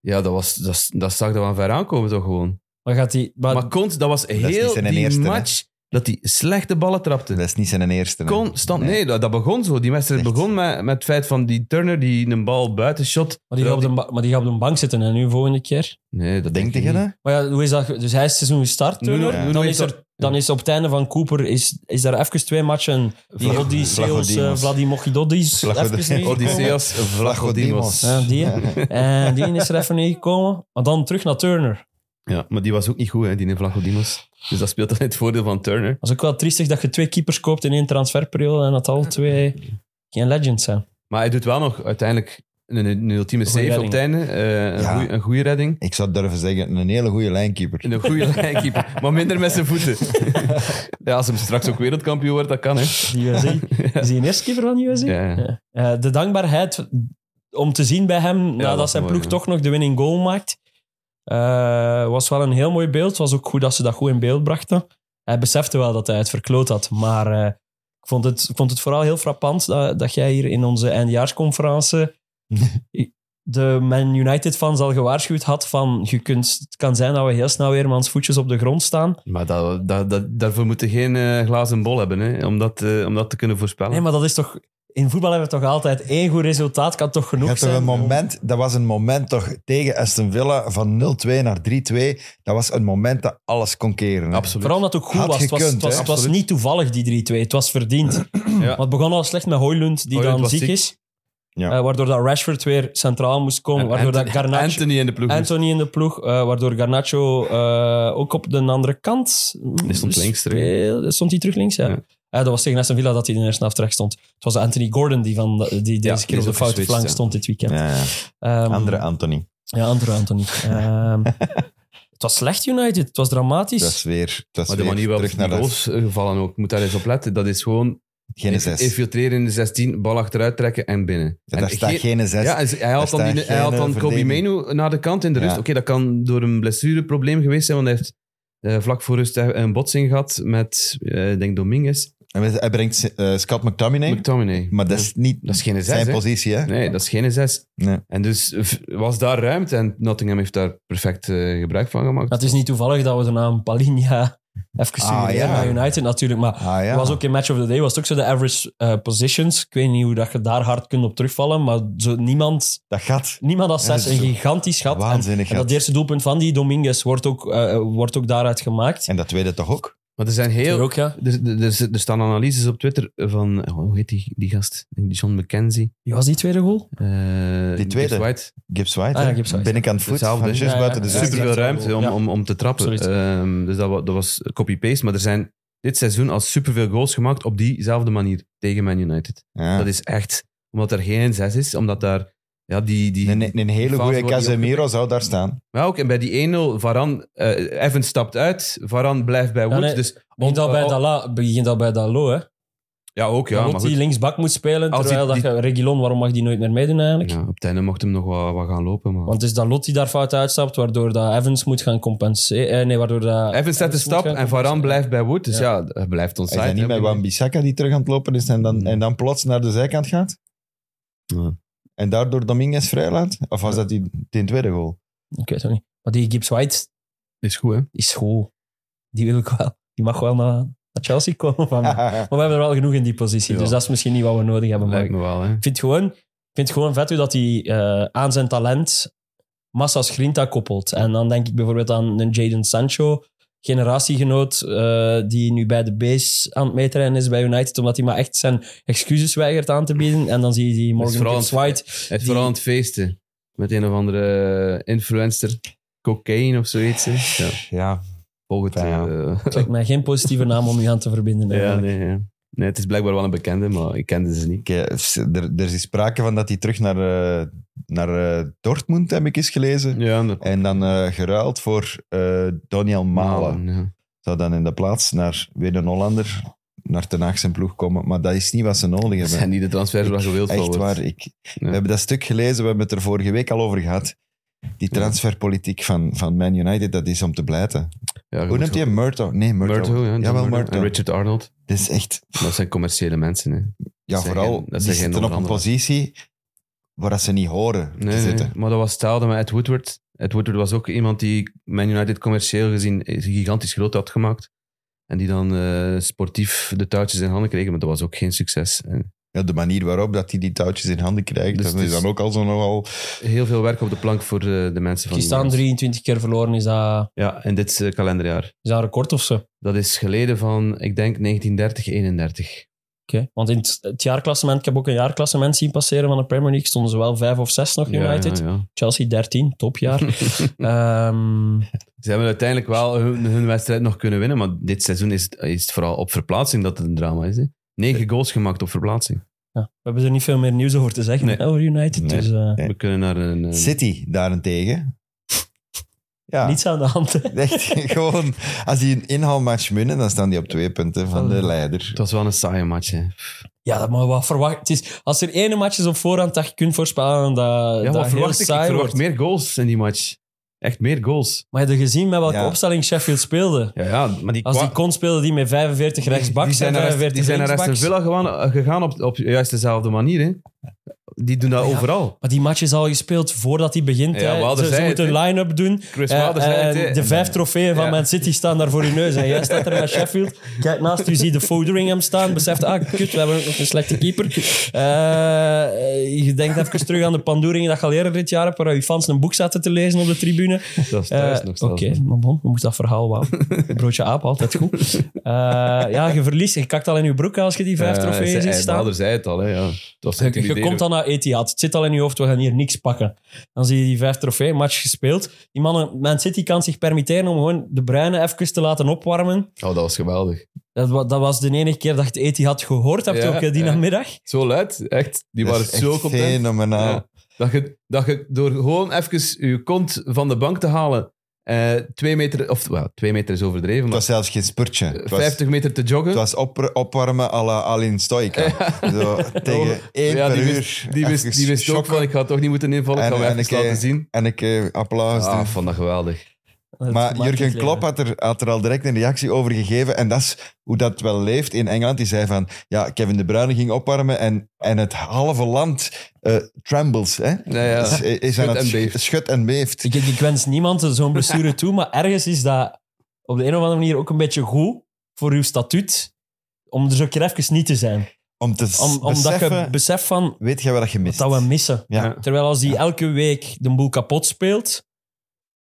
C: Ja, dat, was, dat, dat zag er van ver aankomen toch gewoon.
B: Maar gaat hij... maar-
C: Maar Kont, dat was
A: is niet
C: heel
A: zijn
C: die
A: eerste, hè?
C: match. dat hij slechte ballen trapte.
A: Dat is niet zijn eerste. hè.
C: Constant. Nee, dat, dat begon zo. Die wedstrijd
A: Echt.
C: begon met, met het feit van die Turner die een bal buiten shot.
B: Maar die, gaat op de, ba- maar die gaat op de bank zitten en nu volgende keer.
C: Nee, dat
A: Denk
C: denk ik
A: je
C: niet.
A: dat?
B: Maar ja, hoe is dat? ge- Dus hij is het seizoen gestart,
C: Nuno-
B: Turner.
A: Nuno
B: dan,
C: heeft
B: is er,
C: dat-
B: dan is op het einde van Cooper is, is daar even twee matchen. Vladi, Seos,
A: Vlachodimos.
B: Vladimochidodis.
A: Vlachodimos.
B: even niet gekomen.
C: Odysseus Vlachodimos.
B: Ja, die. hè. En die is er even niet gekomen. Maar dan terug naar Turner.
C: Ja, maar die was ook niet goed, hè, die Vlachodimos. Dus dat speelt dan in het voordeel van Turner.
B: Dat is ook wel triestig dat je twee keepers koopt in één transferperiode en dat al twee geen legends zijn.
C: Maar hij doet wel nog uiteindelijk een, een ultieme save op
B: redding.
C: het einde. eh, een,
A: Ja.
C: goeie- een goede redding.
A: Ik zou durven zeggen, een hele goede lijnkeeper.
C: Een goede lijnkeeper, maar minder met zijn voeten. ja, als hem straks ook wereldkampioen wordt, dat kan, hè.
B: De USA. Is hij een eerste keeper van de USA?
C: Ja, ja.
B: Eh, de dankbaarheid om te zien bij hem nadat
C: was
B: zijn
C: mooi,
B: ploeg
C: ja.
B: toch nog de winning goal maakt, eh, was wel een heel mooi beeld. Het was ook goed dat ze dat goed in beeld brachten. Hij besefte wel dat hij het verkloot had, maar eh, ik, vond het, ik vond het vooral heel frappant dat, dat jij hier in onze eindjaarsconferentie de Man United-fans al gewaarschuwd had van je kunt, het kan zijn dat we heel snel weer mans voetjes op de grond staan.
C: Maar dat, dat, dat, daarvoor moet je geen eh, glazen bol hebben, hè, om, dat, eh, om dat te kunnen voorspellen.
B: Nee, maar dat is toch... In voetbal hebben we toch altijd één goed resultaat, kan toch
A: Je
B: genoeg
A: hebt er
B: zijn?
A: een
B: om-
A: moment, dat was een moment toch tegen Aston Villa van 0-2 naar 3-2. Dat was een moment dat alles kon keren. hè.
C: Absoluut.
B: Vooral omdat het ook goed
A: Had
B: was. Het was,
A: gekund,
B: het was,
A: hè?
B: het was
C: Absoluut.
B: niet toevallig, die 3-2. Het was verdiend. Want het begon al slecht met Hoylund, die
C: Højlund
B: dan
C: was
B: ziek
C: ziek.
B: is.
A: Ja.
B: Eh, waardoor dat Rashford weer centraal moest komen.
C: En
B: waardoor dat
C: Anthony-
B: Garnacho, Anthony,
C: Anthony in de ploeg.
B: in de ploeg. eh, waardoor Garnacho eh, ook op de andere kant... Mm,
C: Die stond links terug.
B: speelde. Stond hij terug links, ja.
C: Ja.
B: Eh, dat was tegen Aston Villa dat hij in de eerste helft terecht stond. Het was Anthony Gordon die, van, de- die deze
C: die
B: keer op
C: is
B: de
C: ook
B: foute
C: geswitcht,
B: flank
C: ja.
B: stond dit weekend.
A: Ja, ja.
B: Ehm,
A: Andere Anthony.
B: Ja, andere Anthony. Ehm, het was slecht United. Het was dramatisch.
A: Dat is weer, dat is
C: Maar de
A: weer
C: manier waarop
A: terug naar
C: die
A: de
C: goals eh, gevallen ook, moet daar eens op letten. Dat is gewoon
A: Geen zes.
C: infiltreren in de 16, bal achteruit trekken en binnen.
A: Ja,
C: En
A: daar staat
C: geen-
A: geen zes.
C: Ja, en ze- hij haalt
A: Daar
C: dan, die,
A: staat
C: hij haalt
A: geen,
C: dan
A: eh,
C: Kobe
A: verdediging.
C: Menu naar de kant in de rust.
A: Ja.
C: Oké, dat kan door een blessureprobleem geweest zijn, want hij heeft eh, vlak voor rust een botsing gehad met, eh, ik denk Dominguez,
A: En Hij brengt eh, Scott McTominay,
C: McTominay.
A: maar dat is niet
C: Dat is geen zes,
A: zijn
C: hè?
A: positie. Hè?
C: Nee, dat is geen zes.
A: Nee.
C: En dus eh, was daar ruimte en Nottingham heeft daar perfect eh, gebruik van gemaakt.
B: Het is niet toevallig dat we de naam Palinha even
A: Ah,
B: suggereren
A: ja.
B: naar United natuurlijk. Maar
A: Ah, ja.
B: was ook in Match of the Day was het ook zo de average eh, positions. Ik weet niet hoe dat je daar hard kunt op terugvallen, maar zo niemand,
A: Dat gaat
B: niemand had
A: Ja, dat
B: zes.
A: is
B: Een
A: zo
B: gigantisch gat. En-
A: waanzinnig.
B: En, dat
A: gaat.
B: eerste doelpunt van die Dominguez wordt ook, eh, wordt ook daaruit gemaakt.
A: En dat tweede toch ook?
C: Maar er zijn heel,
B: Hier ook, ja.
C: Er, er, Dus, er- er staan analyses op Twitter van, oh, hoe heet die, die gast? John McKenzie.
B: Wie was die tweede goal?
C: Eh,
A: Die tweede.
C: Gibbs White.
A: Gibbs White,
B: Ah,
A: hè?
B: Gibbs White.
A: binnenkant voet,
C: Hetzelfde,
A: van dus-
C: hè?
A: just
B: Ja,
A: buiten de
B: ja, ja.
A: zes.
C: Super veel
B: exact.
C: ruimte om,
B: Ja.
C: om, om te trappen.
B: Absoluut.
C: Ehm, dus dat, wa- dat was copy-paste. Maar er zijn dit seizoen al superveel goals gemaakt op diezelfde manier tegen Man United.
A: Ja.
C: Dat is echt, omdat er geen zes is, omdat daar ja, die, die,
A: Een, een- een hele
C: fase
A: goede
C: wordt niet
A: Casemiro zou daar staan.
C: Maar ook en bij die 1-0, Varan, eh Evans stapt uit, Varan blijft bij Woods.
B: nee.
C: dus
B: Begint dat bij
C: oh,
B: Dala, begint dat bij Dalo, hè?
C: ja, ook ja.
B: Ja,
C: Maar
B: die
C: goed.
B: linksbak moet spelen,
C: Als die-
B: terwijl dat
C: die-
B: je- Reguilon, waarom mag die nooit meer meedoen eigenlijk?
C: Ja, op het einde mocht hem nog wat, wat gaan lopen. Maar.
B: Want het is Dalot die daar fout uitstapt, waardoor dat Evans moet gaan compenseren. Eh, nee, waardoor dat
C: Evans zet de
B: moet
C: stap
B: gaan
C: en Varan
B: compenseren.
C: blijft bij Wood. Dus ja, hij blijft ons
A: Is dat niet met Wan-Bissaka die terug aan het lopen is en dan,
C: Hmm.
A: en dan plots naar de zijkant gaat?
C: Ja.
A: En daardoor Dominguez vrijlaat? Of was dat die, die tweede goal?
B: Ik weet het niet. Maar die Gibbs White
C: Is goed, hè?
B: is goed. Die wil ik wel. Die mag wel naar, naar Chelsea komen van mij. Maar we hebben er wel genoeg in die positie,
C: Ja.
B: dus dat is misschien niet wat we nodig hebben. Maar
C: Lijkt
B: ik
C: me wel, hè?
B: vind het gewoon, ik vind het gewoon vet hoe dat hij eh, aan zijn talent massa's grinta koppelt. En dan denk ik bijvoorbeeld aan een Jadon Sancho, generatiegenoot, eh, die nu bij de base aan het meetrainen is bij United, omdat hij maar echt zijn excuses weigert aan te bieden. En dan zie je die Morgan
C: vooral
B: Gibbs
C: een-
B: White.
C: Het
B: die-
C: vooral aan het feesten. Met een of andere influencer. Cocaine of zoiets. hè. Ja,
A: Ja,
C: volg het.
A: Ja.
C: eh,
B: Het lijkt mij geen positieve naam om u aan te verbinden.
C: ja,
B: eigenlijk.
C: nee, ja. nee, het is blijkbaar wel een bekende, maar ik kende ze niet.
A: ik, eh, er, er is sprake van dat hij terug naar, eh, naar eh, Dortmund, heb ik eens gelezen.
C: Ja, dat-
A: En dan eh, geruild voor eh, Daniel Malen.
C: ja.
A: Zou dan in de plaats naar weer een Hollander, naar Ten Haag zijn ploeg komen. Maar dat is niet wat ze nodig
C: Dat
A: hebben.
C: zijn niet de transfers waar je wild voor
A: Echt
C: wordt.
A: waar. Ik, We hebben dat stuk gelezen, we hebben het er vorige week al over gehad. Die transferpolitiek van, van Man United, dat is om te blijten.
C: Ja, je
A: Hoe
C: moet
A: noemt hij
C: gewoon-
A: hem? Murto? Nee, Murto.
C: Murto, ja. John
A: Jawel,
C: Murto.
A: Murto.
C: En Richard Arnold.
A: Dat is echt...
C: Dat zijn commerciële mensen, hè.
A: Ja,
C: Dat zijn
A: vooral,
C: geen- dat zijn
A: die
C: geen
A: zitten op een
C: onderhandelaars.
A: positie waar dat ze niet horen
C: Nee,
A: te
C: nee,
A: zitten.
C: maar dat was hetzelfde met Ed Woodward. Ed Woodward was ook iemand die Man United commercieel gezien gigantisch groot had gemaakt. En die dan eh, sportief de touwtjes in handen kregen, maar dat was ook geen succes. En
A: Ja, de manier waarop dat hij die touwtjes in handen krijgt,
C: Dus
A: dat
C: het
A: is
C: is-
A: dan ook al zo nogal...
C: heel veel werk op de plank voor eh, de mensen van
B: Kistaan
C: Nieuwland.
B: 23 keer verloren, is dat,
C: Ja, in dit eh, kalenderjaar.
B: is dat een record of zo? Oké,
C: Dat is geleden van, ik denk, 1930-31.
B: want in het, het jaarklassement, ik heb ook een jaarklassement zien passeren van de Premier League, stonden ze wel 5 of 6 nog United.
C: Ja, ja.
B: Chelsea 13, topjaar. Ehm,
C: Ze hebben uiteindelijk wel hun, hun wedstrijd nog kunnen winnen, maar dit seizoen is het, is het vooral op verplaatsing dat het een drama is. Hè? Negen goals gemaakt op verplaatsing.
B: ja, we hebben er niet veel meer nieuws over te zeggen
C: Nee.
B: hè, over United,
A: Nee.
B: dus eh,
A: Nee.
C: We kunnen naar een... een-
A: City daarentegen. Ja,
B: niets aan de hand. hè.
A: echt gewoon... Als die een inhaalmatch winnen, dan staan die op twee punten van de leider.
C: Het was wel een saaie match. Hè.
B: Ja, dat mag je wel verwachten. Het is- Als er ene match is op voorhand dat je kunt voorspellen, dat,
C: Ja,
B: dat
C: wat
B: heel
C: verwacht ik? Ik
B: saai
C: verwacht
B: wordt.
C: meer goals in die match. Echt meer goals.
B: Maar je hebt gezien met welke
A: Ja.
B: opstelling Sheffield speelde.
C: Ja, ja maar die,
B: Als
C: kwa-
B: die kon spelen, die met 45 rechtsbaks
C: die
B: en
C: zijn naar Aston-
B: 45
C: die zijn naar Aston
B: linksbacks.
C: Villa gegaan, gegaan op, op juist dezelfde manier. Hè. Die doen dat
B: Ja.
C: overal.
B: Maar die match is al gespeeld voordat hij begint.
C: Ja,
B: hè.
C: we hadden
B: ze, ze
C: zei het,
B: moeten een
C: hè.
B: line-up doen.
C: Chris
B: Eh,
C: Wilder zei
B: en
C: het, hè.
B: de
C: En
B: vijf
C: dan-
B: trofeeën van
C: Ja.
B: Man City staan daar voor je neus. En jij staat er met Sheffield. Kijk naast u, zie de Foderingham staan. Beseft, ah, kut, we hebben ook nog een slechte keeper. Eh, eh, je denkt even terug aan de pandoeringen dat je al eerder dit jaar hebt, waar je fans een boek zaten te lezen op de tribune.
C: Dat is thuis
B: Eh,
C: nog
B: Oké,
C: zelfs. hè.
B: maar bon, we moeten dat verhaal wel. Broodje aap, altijd goed. Eh, ja, je verliest, je kakt al in je broek als je die vijf
C: Ja,
B: trofeeën
C: zei-
B: ziet
C: hij-
B: staan.
C: Wilder zei het al. Hè, ja. Het was
B: Je, je
C: intimiderend.
B: komt dan naar Etihad. Het zit al in je hoofd, we gaan hier niks pakken. Dan zie je die vijf trofeeën, match gespeeld. Die mannen, Man City kan zich permitteren om gewoon de bruine even te laten opwarmen.
C: Oh, dat was geweldig.
B: Dat, wa- dat was de enige keer dat je het Etihad gehoord hebt,
C: Ja,
B: ook eh, die
C: ja.
B: namiddag.
C: Zo luid, echt. Die
A: Dat
C: waren
A: is echt
C: zo content.
A: fenomenaal.
C: Ja. Dat, je, dat je door gewoon even je kont van de bank te halen, eh, twee meter, of wel, twee meter is overdreven,
A: Het
C: maar
A: was zelfs geen spurtje. Het was,
C: 50 meter te joggen.
A: het was op, opwarmen à la Alin Stojka. Zo, tegen één
C: Ja,
A: per
C: die
A: uur.
C: wist, die wist,
A: Even
C: die wist ook
A: shocken.
C: van, ik ga toch niet moeten invallen, ik
A: En-
C: ga
A: en
C: hem even
A: ik, eh,
C: laten zien.
A: En ik eh, applaus.
C: Ah,
A: doen.
C: ik vond dat geweldig.
B: Dat
A: Maar
B: maakt het
A: Jurgen
B: leven.
A: Klopp had er, had er al direct een reactie over gegeven. En dat is hoe dat wel leeft in Engeland. Die zei van, ja, Kevin De Bruyne ging opwarmen en, en het halve land eh trembles. Hè? Dus
C: Ja, ja.
A: Is, is aan
C: Schudt
A: het
C: en
A: sch-
C: beeft.
A: schudt en beeft.
B: Ik, ik wens niemand zo'n blessure toe, maar ergens is dat op de een of andere manier ook een beetje goed voor uw statuut. Om er zo keer even niet te zijn.
A: Om te s-
B: Om, omdat
A: beseffen,
B: je beseft van
A: weet je wat dat je mist.
B: dat we missen.
A: ja.
B: Terwijl als die elke week de boel kapot speelt,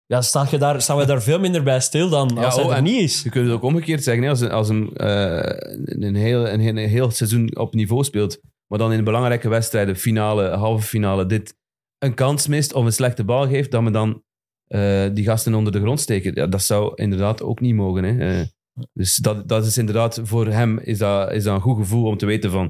B: ja, sta je daar, staan we daar veel minder bij stil dan als hij
C: oh,
B: er
C: en-
B: niet is.
C: Je kunt het ook omgekeerd zeggen, hè, als, een- als een, eh, een, heel, een, heel- een heel seizoen op niveau speelt, maar dan in belangrijke wedstrijden, finale, halve finale, dit, een kans mist of een slechte bal geeft, dat men dan eh, die gasten onder de grond steken. Ja, dat zou inderdaad ook niet mogen. Hè. Eh, dus dat, dat is inderdaad, voor hem is dat, is dat een goed gevoel om te weten van,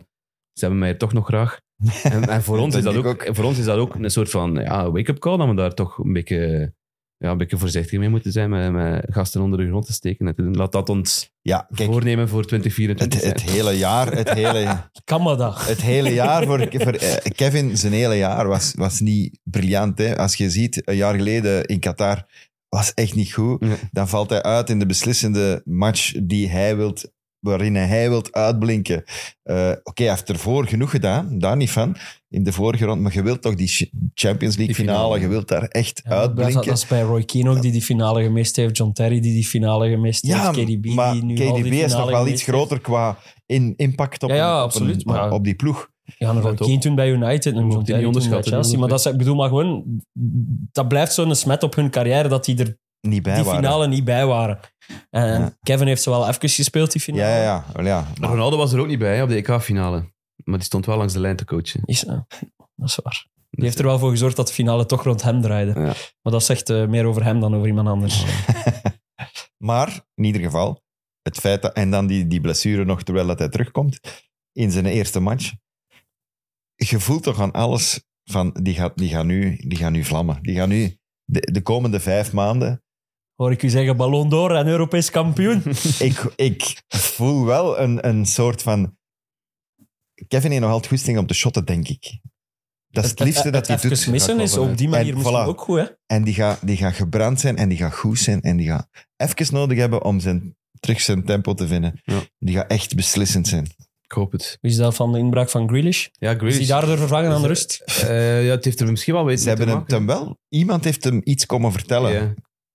C: ze hebben mij toch nog graag. En, en voor, ons is dat
A: denk
C: ook,
A: ik
C: voor ons is dat ook een soort van ja, wake-up call, dat we daar toch een beetje, ja, een beetje voorzichtig mee moeten zijn met, met gasten onder de grond te steken. En te doen. Laat dat ons
A: ja, kijk,
C: voornemen voor
A: het,
C: 2024
A: het hele jaar, het hele,
B: Kan maar dat.
A: het hele jaar voor, voor eh, Kevin, zijn hele jaar was, was niet briljant. Hè? Als je ziet, een jaar geleden in Qatar was echt niet goed.
C: Ja.
A: Dan valt hij uit in de beslissende match die hij wilt, waarin hij wilt uitblinken. Eh, Oké, hij heeft ervoor genoeg gedaan, daar niet van. In de vorige rond, maar je wilt toch die ch- Champions League
C: Die
A: finale,
C: finale.
A: je wilt daar echt
B: dat,
A: uitblinken.
B: dat is bij Roy Keane ook, die die finale gemist heeft. John Terry, die die finale gemist
A: Ja,
B: heeft. KDB,
A: maar
B: die nu al die
A: KDB is nog
B: finale
A: wel
B: gemist
A: iets
B: heeft.
A: groter qua in, impact op,
B: Ja, ja,
A: een- op
B: absoluut,
A: een-
B: maar-
A: op die ploeg.
B: Ja, en Roy
C: Let op.
B: Keane toen bij United en
C: moet
B: John Terry
C: die niet
B: toen bij
C: onderschatten,
B: Chelsea. Maar dat, is- ik bedoel, maar gewoon, dat blijft zo'n smet op hun carrière dat die er
A: Niet bij
B: die
A: waren.
B: finale niet bij waren. En
A: Ja.
B: Kevin heeft ze wel even gespeeld, die finale.
A: Ja, ja, ja. Wel ja.
C: Maar Ronaldo was er ook niet bij hè, op de EK-finale. Maar die stond wel langs de lijn te coachen.
B: Is, ja, dat is waar. Die heeft er wel voor gezorgd dat de finale toch rond hem draaide.
C: Ja.
B: Maar dat zegt eh, meer over hem dan over iemand anders.
A: Maar in ieder geval, het feit dat, en dan die, die blessure nog terwijl dat hij terugkomt in zijn eerste match. Je voelt toch aan alles van die gaat, die gaan, nu, die gaan nu vlammen. Die gaan nu de, de komende vijf maanden.
B: Hoor ik u zeggen, ballon door en Europees kampioen.
A: Ik, ik voel wel een, een soort van. Kevin heeft nog altijd goesting om te shotten, denk ik. Dat is het liefste dat hij
B: het
A: doet.
B: even missen is op die manier
A: En
B: misschien
A: voilà.
B: ook goed. Hè?
A: En die gaat die gaat gebrand zijn en die gaat goed zijn en die gaat even nodig hebben om zijn, terug zijn tempo te vinden.
C: Ja.
A: Die gaat echt beslissend zijn.
C: Ik hoop het.
B: Wie is dat van de inbraak van Grealish?
C: Ja,
B: Is
C: Grealish.
B: die daardoor vervangen aan de rust?
C: Eh, ja, het heeft er misschien wel weten
A: Ze
C: te
A: hebben hem dan
C: maken.
A: wel... Iemand heeft hem iets komen vertellen.
C: Ja.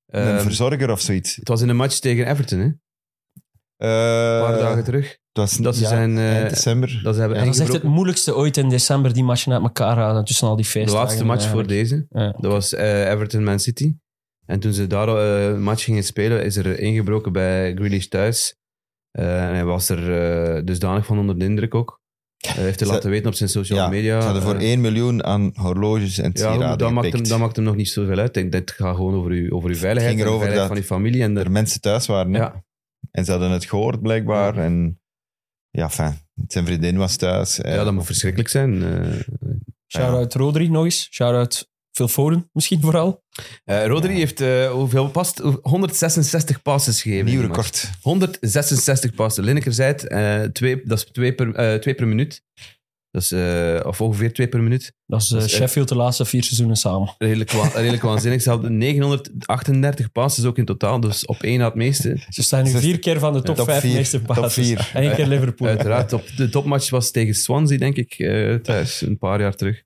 A: Een
C: Ehm,
A: verzorger of zoiets.
C: het was in een match tegen Everton, hè?
A: Eh,
C: een paar dagen terug.
A: Het was
C: Dat ze
A: ja,
C: zijn, eh,
A: eind december.
C: Dat ze hebben
A: Ja,
B: Dat is echt het
C: ingebroken.
B: moeilijkste ooit in december, die matchen uit elkaar halen tussen al die
C: De
B: feestdagen. eh.
C: laatste match voor
B: eigenlijk.
C: deze.
B: Ja.
C: Dat was eh, Everton Man City. En toen ze daar eh, een match gingen spelen, is er ingebroken bij Grealish thuis. Eh, en hij was er eh, dusdanig van onder de indruk ook. Hij heeft het
A: Ze-
C: laten weten op zijn social
A: Ja,
C: media.
A: Ze hadden voor
C: Eh,
A: 1 miljoen aan horloges en
C: ja, goed,
A: sieraden
C: dat, maakt
A: gepikt.
C: hem, dat maakt hem nog niet zoveel uit. Ik denk, dit gaat gewoon over, u, over uw
A: ging
C: veiligheid, en de
A: erover
C: veiligheid
A: dat-
C: van uw familie. En de,
A: Er mensen thuis waren hè?
C: ja,
A: en ze hadden het gehoord blijkbaar. En ja, fijn. Zijn vriendin was thuis. eh.
C: ja, dat moet verschrikkelijk zijn. Eh,
B: Shout-out Rodri nog eens. Shout-out Phil Foden misschien vooral.
C: eh, Rodri heeft eh, hoeveel past? 166 passes gegeven.
A: Nieuw
C: in die match.
A: record.
C: 166 passen. Lineker zei het, eh, twee, dat is twee per, eh, twee per minuut. Dat is, eh, of ongeveer twee per minuut.
B: Dat is eh,
C: Dat is echt-
B: Sheffield de laatste vier seizoenen samen.
C: Redelijk, wa- redelijk waanzinnig. Ze hadden 938 passes ook in totaal, dus op één na het meeste.
B: Ze staan nu
A: Zesde-
B: vier keer van de top,
A: top
B: vijf
A: vier.
B: meeste
A: Top
B: basis.
A: vier.
B: En één keer Liverpool.
C: Uiteraard, op, de topmatch was tegen Swansea, denk ik, eh, thuis, een paar jaar terug.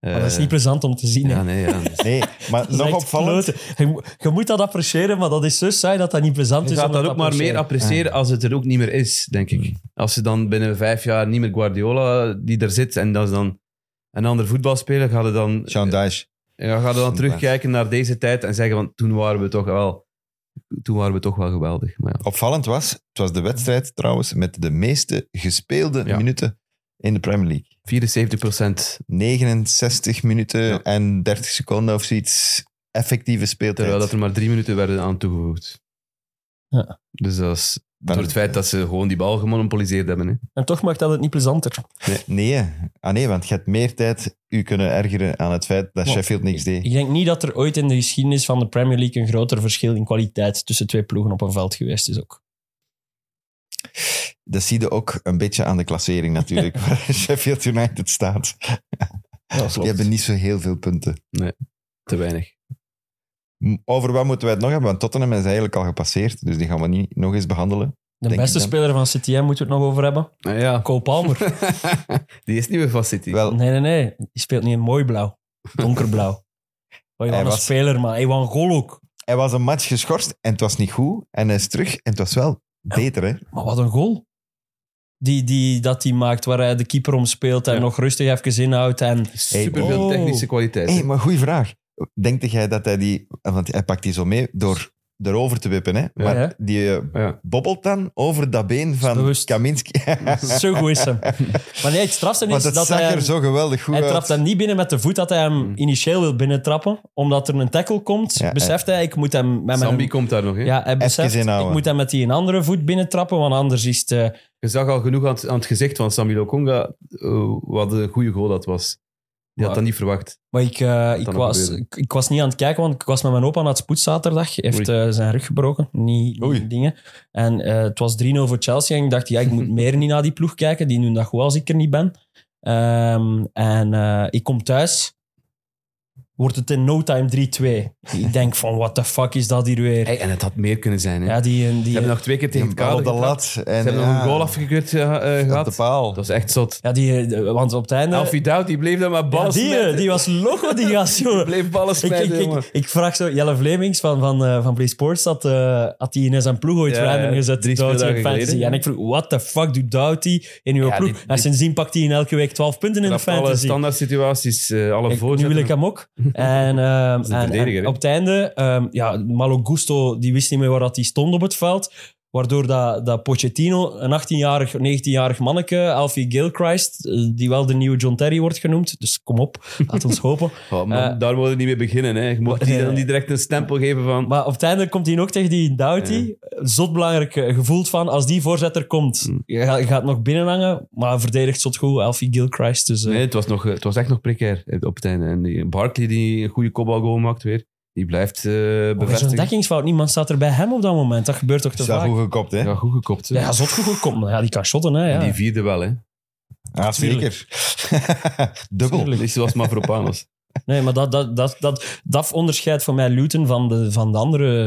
C: Eh,
B: Maar dat is niet plezant om te zien. hè.
C: Ja, nee, ja. Je
A: Nee, maar
B: Dat is
A: nog
B: echt
A: opvallend.
B: kloten. Je, mo- je moet dat appreciëren, maar dat is zo saai dat dat niet plezant is.
C: gaat
B: om
C: dat
B: te
C: ook maar meer
B: appreciëren. Mm.
C: appreciëren als het er ook niet meer is, denk ik. Als ze dan binnen vijf jaar niet meer Guardiola die daar zit en dat is dan een ander voetbalspeler, gaat het dan...
A: Sean Dyche.
C: En dan gaan we dan terugkijken naar deze tijd en zeggen van toen waren we toch wel, toen waren we toch wel geweldig. Maar ja.
A: Opvallend was, het was de wedstrijd trouwens met de meeste gespeelde
C: Ja.
A: minuten in de Premier League.
C: 74 procent,
A: 69 minuten
C: Ja.
A: en 30 seconden of zoiets effectieve speeltijd.
C: terwijl dat er maar drie minuten werden aan toegevoegd.
B: Ja.
C: Dus dat is
A: Maar-
C: door het feit dat ze gewoon die bal gemonopoliseerd hebben. Hè.
B: En toch maakt dat het niet plezanter.
A: Nee, nee, ah, nee, want je hebt meer tijd u kunnen ergeren aan het feit dat
B: Maar-
A: Sheffield niks deed.
B: Ik denk niet dat er ooit in de geschiedenis van de Premier League een groter verschil in kwaliteit tussen twee ploegen op een veld geweest is ook.
A: Dat zie je ook een beetje aan de klassering natuurlijk, waar Sheffield United staat. Die hebben niet zo heel veel punten.
C: Te weinig.
A: M- Over wat moeten wij het nog hebben? Want Tottenham is eigenlijk al gepasseerd, dus die gaan we niet nog eens behandelen.
B: De
A: denk
B: beste
A: ik dan.
B: speler van CTM moeten we het nog over hebben.
C: Ah, ja,
B: Cole Palmer.
C: die is niet meer vast City.
A: Wel,
B: Nee, nee, nee. Die speelt niet in mooi blauw. Donkerblauw. Wat
A: Hij
B: een
A: was-
B: speler, maar hij was een goal ook.
A: hij was een match geschorst en het was niet goed. En hij is terug en het was wel beter, hè?
B: Maar wat een goal. Die, die, dat hij maakt, waar hij de keeper om speelt en
C: Ja.
B: nog rustig even inhoudt. En
C: Super veel
B: Oh.
C: technische kwaliteit.
A: Hé, maar goeie vraag. Denkt jij dat hij die... Want hij pakt die zo mee door erover te wippen, hè? Maar
B: Ja.
A: die eh,
C: Ja.
A: bobbelt dan over dat been van
B: bewust.
A: Kaminski.
B: zo goed is hem. Maar nee, het strafste
A: Want
B: is
A: dat,
B: dat
A: zag
B: hij...
A: er
B: hem-
A: zo geweldig goed
B: Hij
A: uit.
B: trapt hem niet binnen met de voet dat hij hem initieel wil binnentrappen. Omdat er een tackle komt,
A: Hmm. Ja,
B: beseft hij, ik moet hem... Met mijn,
C: Zambi komt daar nog. Hè.
B: ja, hij beseft, ik
A: inhouden.
B: moet hem met die een andere voet binnentrappen, want anders is het... eh,
C: Je zag al genoeg aan het, aan het gezicht van Sammy Lokonga eh, wat een goede goal dat was. Die had
B: Maar-
C: dat niet verwacht.
B: Maar ik, eh, ik,
C: nog
B: was,
C: gebeuren.
B: ik, ik was niet aan het kijken, want ik was met mijn opa aan het spoed zaterdag. Hij heeft eh, zijn rug gebroken, niet
A: Oei.
B: dingen. En eh, het was 3-0 voor Chelsea. En ik dacht, ja, ik moet meer niet naar die ploeg kijken. Die doen dat goed als ik er niet ben. Ehm, en eh, ik kom thuis. Wordt het in no time 3-2. ik denk van, what the fuck is dat hier weer?
C: Hey, en het had meer kunnen zijn. Hè.
B: Ja, die... die,
C: Ze hebben nog twee keer tegen
A: Die
C: het
A: bal
C: kader
A: op de
C: getrapt.
A: lat. En,
C: Ze hebben nog een goal afgekeurd eh, eh,
A: Op
C: gehad.
A: de paal.
C: Dat is echt zot.
B: ja, die, eh, want op het einde...
C: Alfie Dout, die bleef dan maar
B: Ja,
C: ballen
B: die, eh,
C: smijten.
B: die was loco, die gast, jongen.
C: bleef ballen
B: Ik, ik,
C: smijten, jongen.
B: ik, ik vraag zo, Jelle Vlemings van, van, eh, van Play Sports had, eh, had die in zijn ploeg ooit
C: Ja,
B: random
C: ja,
B: gezet,
C: drie
B: Doughty in
C: speeldagen
B: fantasy.
C: geleden.
B: En ik vroeg, what the fuck doet Doughty in uw
C: Ja,
B: ploeg?
C: die-
B: En
C: die-
B: sindsdien pakt hij in elke week 12 punten in de
C: Trap alle
B: fantasy.
C: standaard situaties, eh, alle
B: Ik- nu
C: voorzetten.
B: wil ik hem ook. En, ehm,
C: is een
B: en- en
C: verdediger, hè?
B: op het einde, ehm ja, Malo Gusto die wist niet meer waar dat hij stond op het veld. Waardoor dat, dat Pochettino, een 18-jarig, 19-jarig manneke, Alfie Gilchrist, eh, die wel de nieuwe John Terry wordt genoemd. Dus kom op, laat ons hopen.
C: Oh, man,
B: Eh,
C: daar moeten we niet mee beginnen. Hè. Je mocht die
B: eh,
C: dan niet direct een stempel geven van...
B: Maar op het einde komt hij nog tegen die Doughty. Zot belangrijk eh, gevoeld van, als die voorzetter komt,
C: Mm.
B: je gaat, je gaat nog binnenhangen, maar hij verdedigt zot goed, Alfie Gilchrist. Dus, eh,
C: Nee, het was, nog, eh, het was echt nog precair eh, op het einde. En die Barkley die een goede kopbalgoal maakt weer, die blijft eh
B: maar zo'n
C: bevestigen.
B: dekkingsfout, niemand staat er bij hem op dat moment. Dat gebeurt toch te
A: Is dat
B: vaak?
A: goed gekopt, hè?
C: Ja, goed gekopt. hè.
B: Ja, zot goed gekomen. Ja, die kan shotten, hè.
C: En
B: Ja.
C: die vierde wel, hè.
A: Ah, zeker. Dubbel.
B: Tuurlijk.
C: Dus die was Mavropanos.
B: Nee, maar dat, dat, dat, dat, dat onderscheidt voor mij Luton van de, van de andere.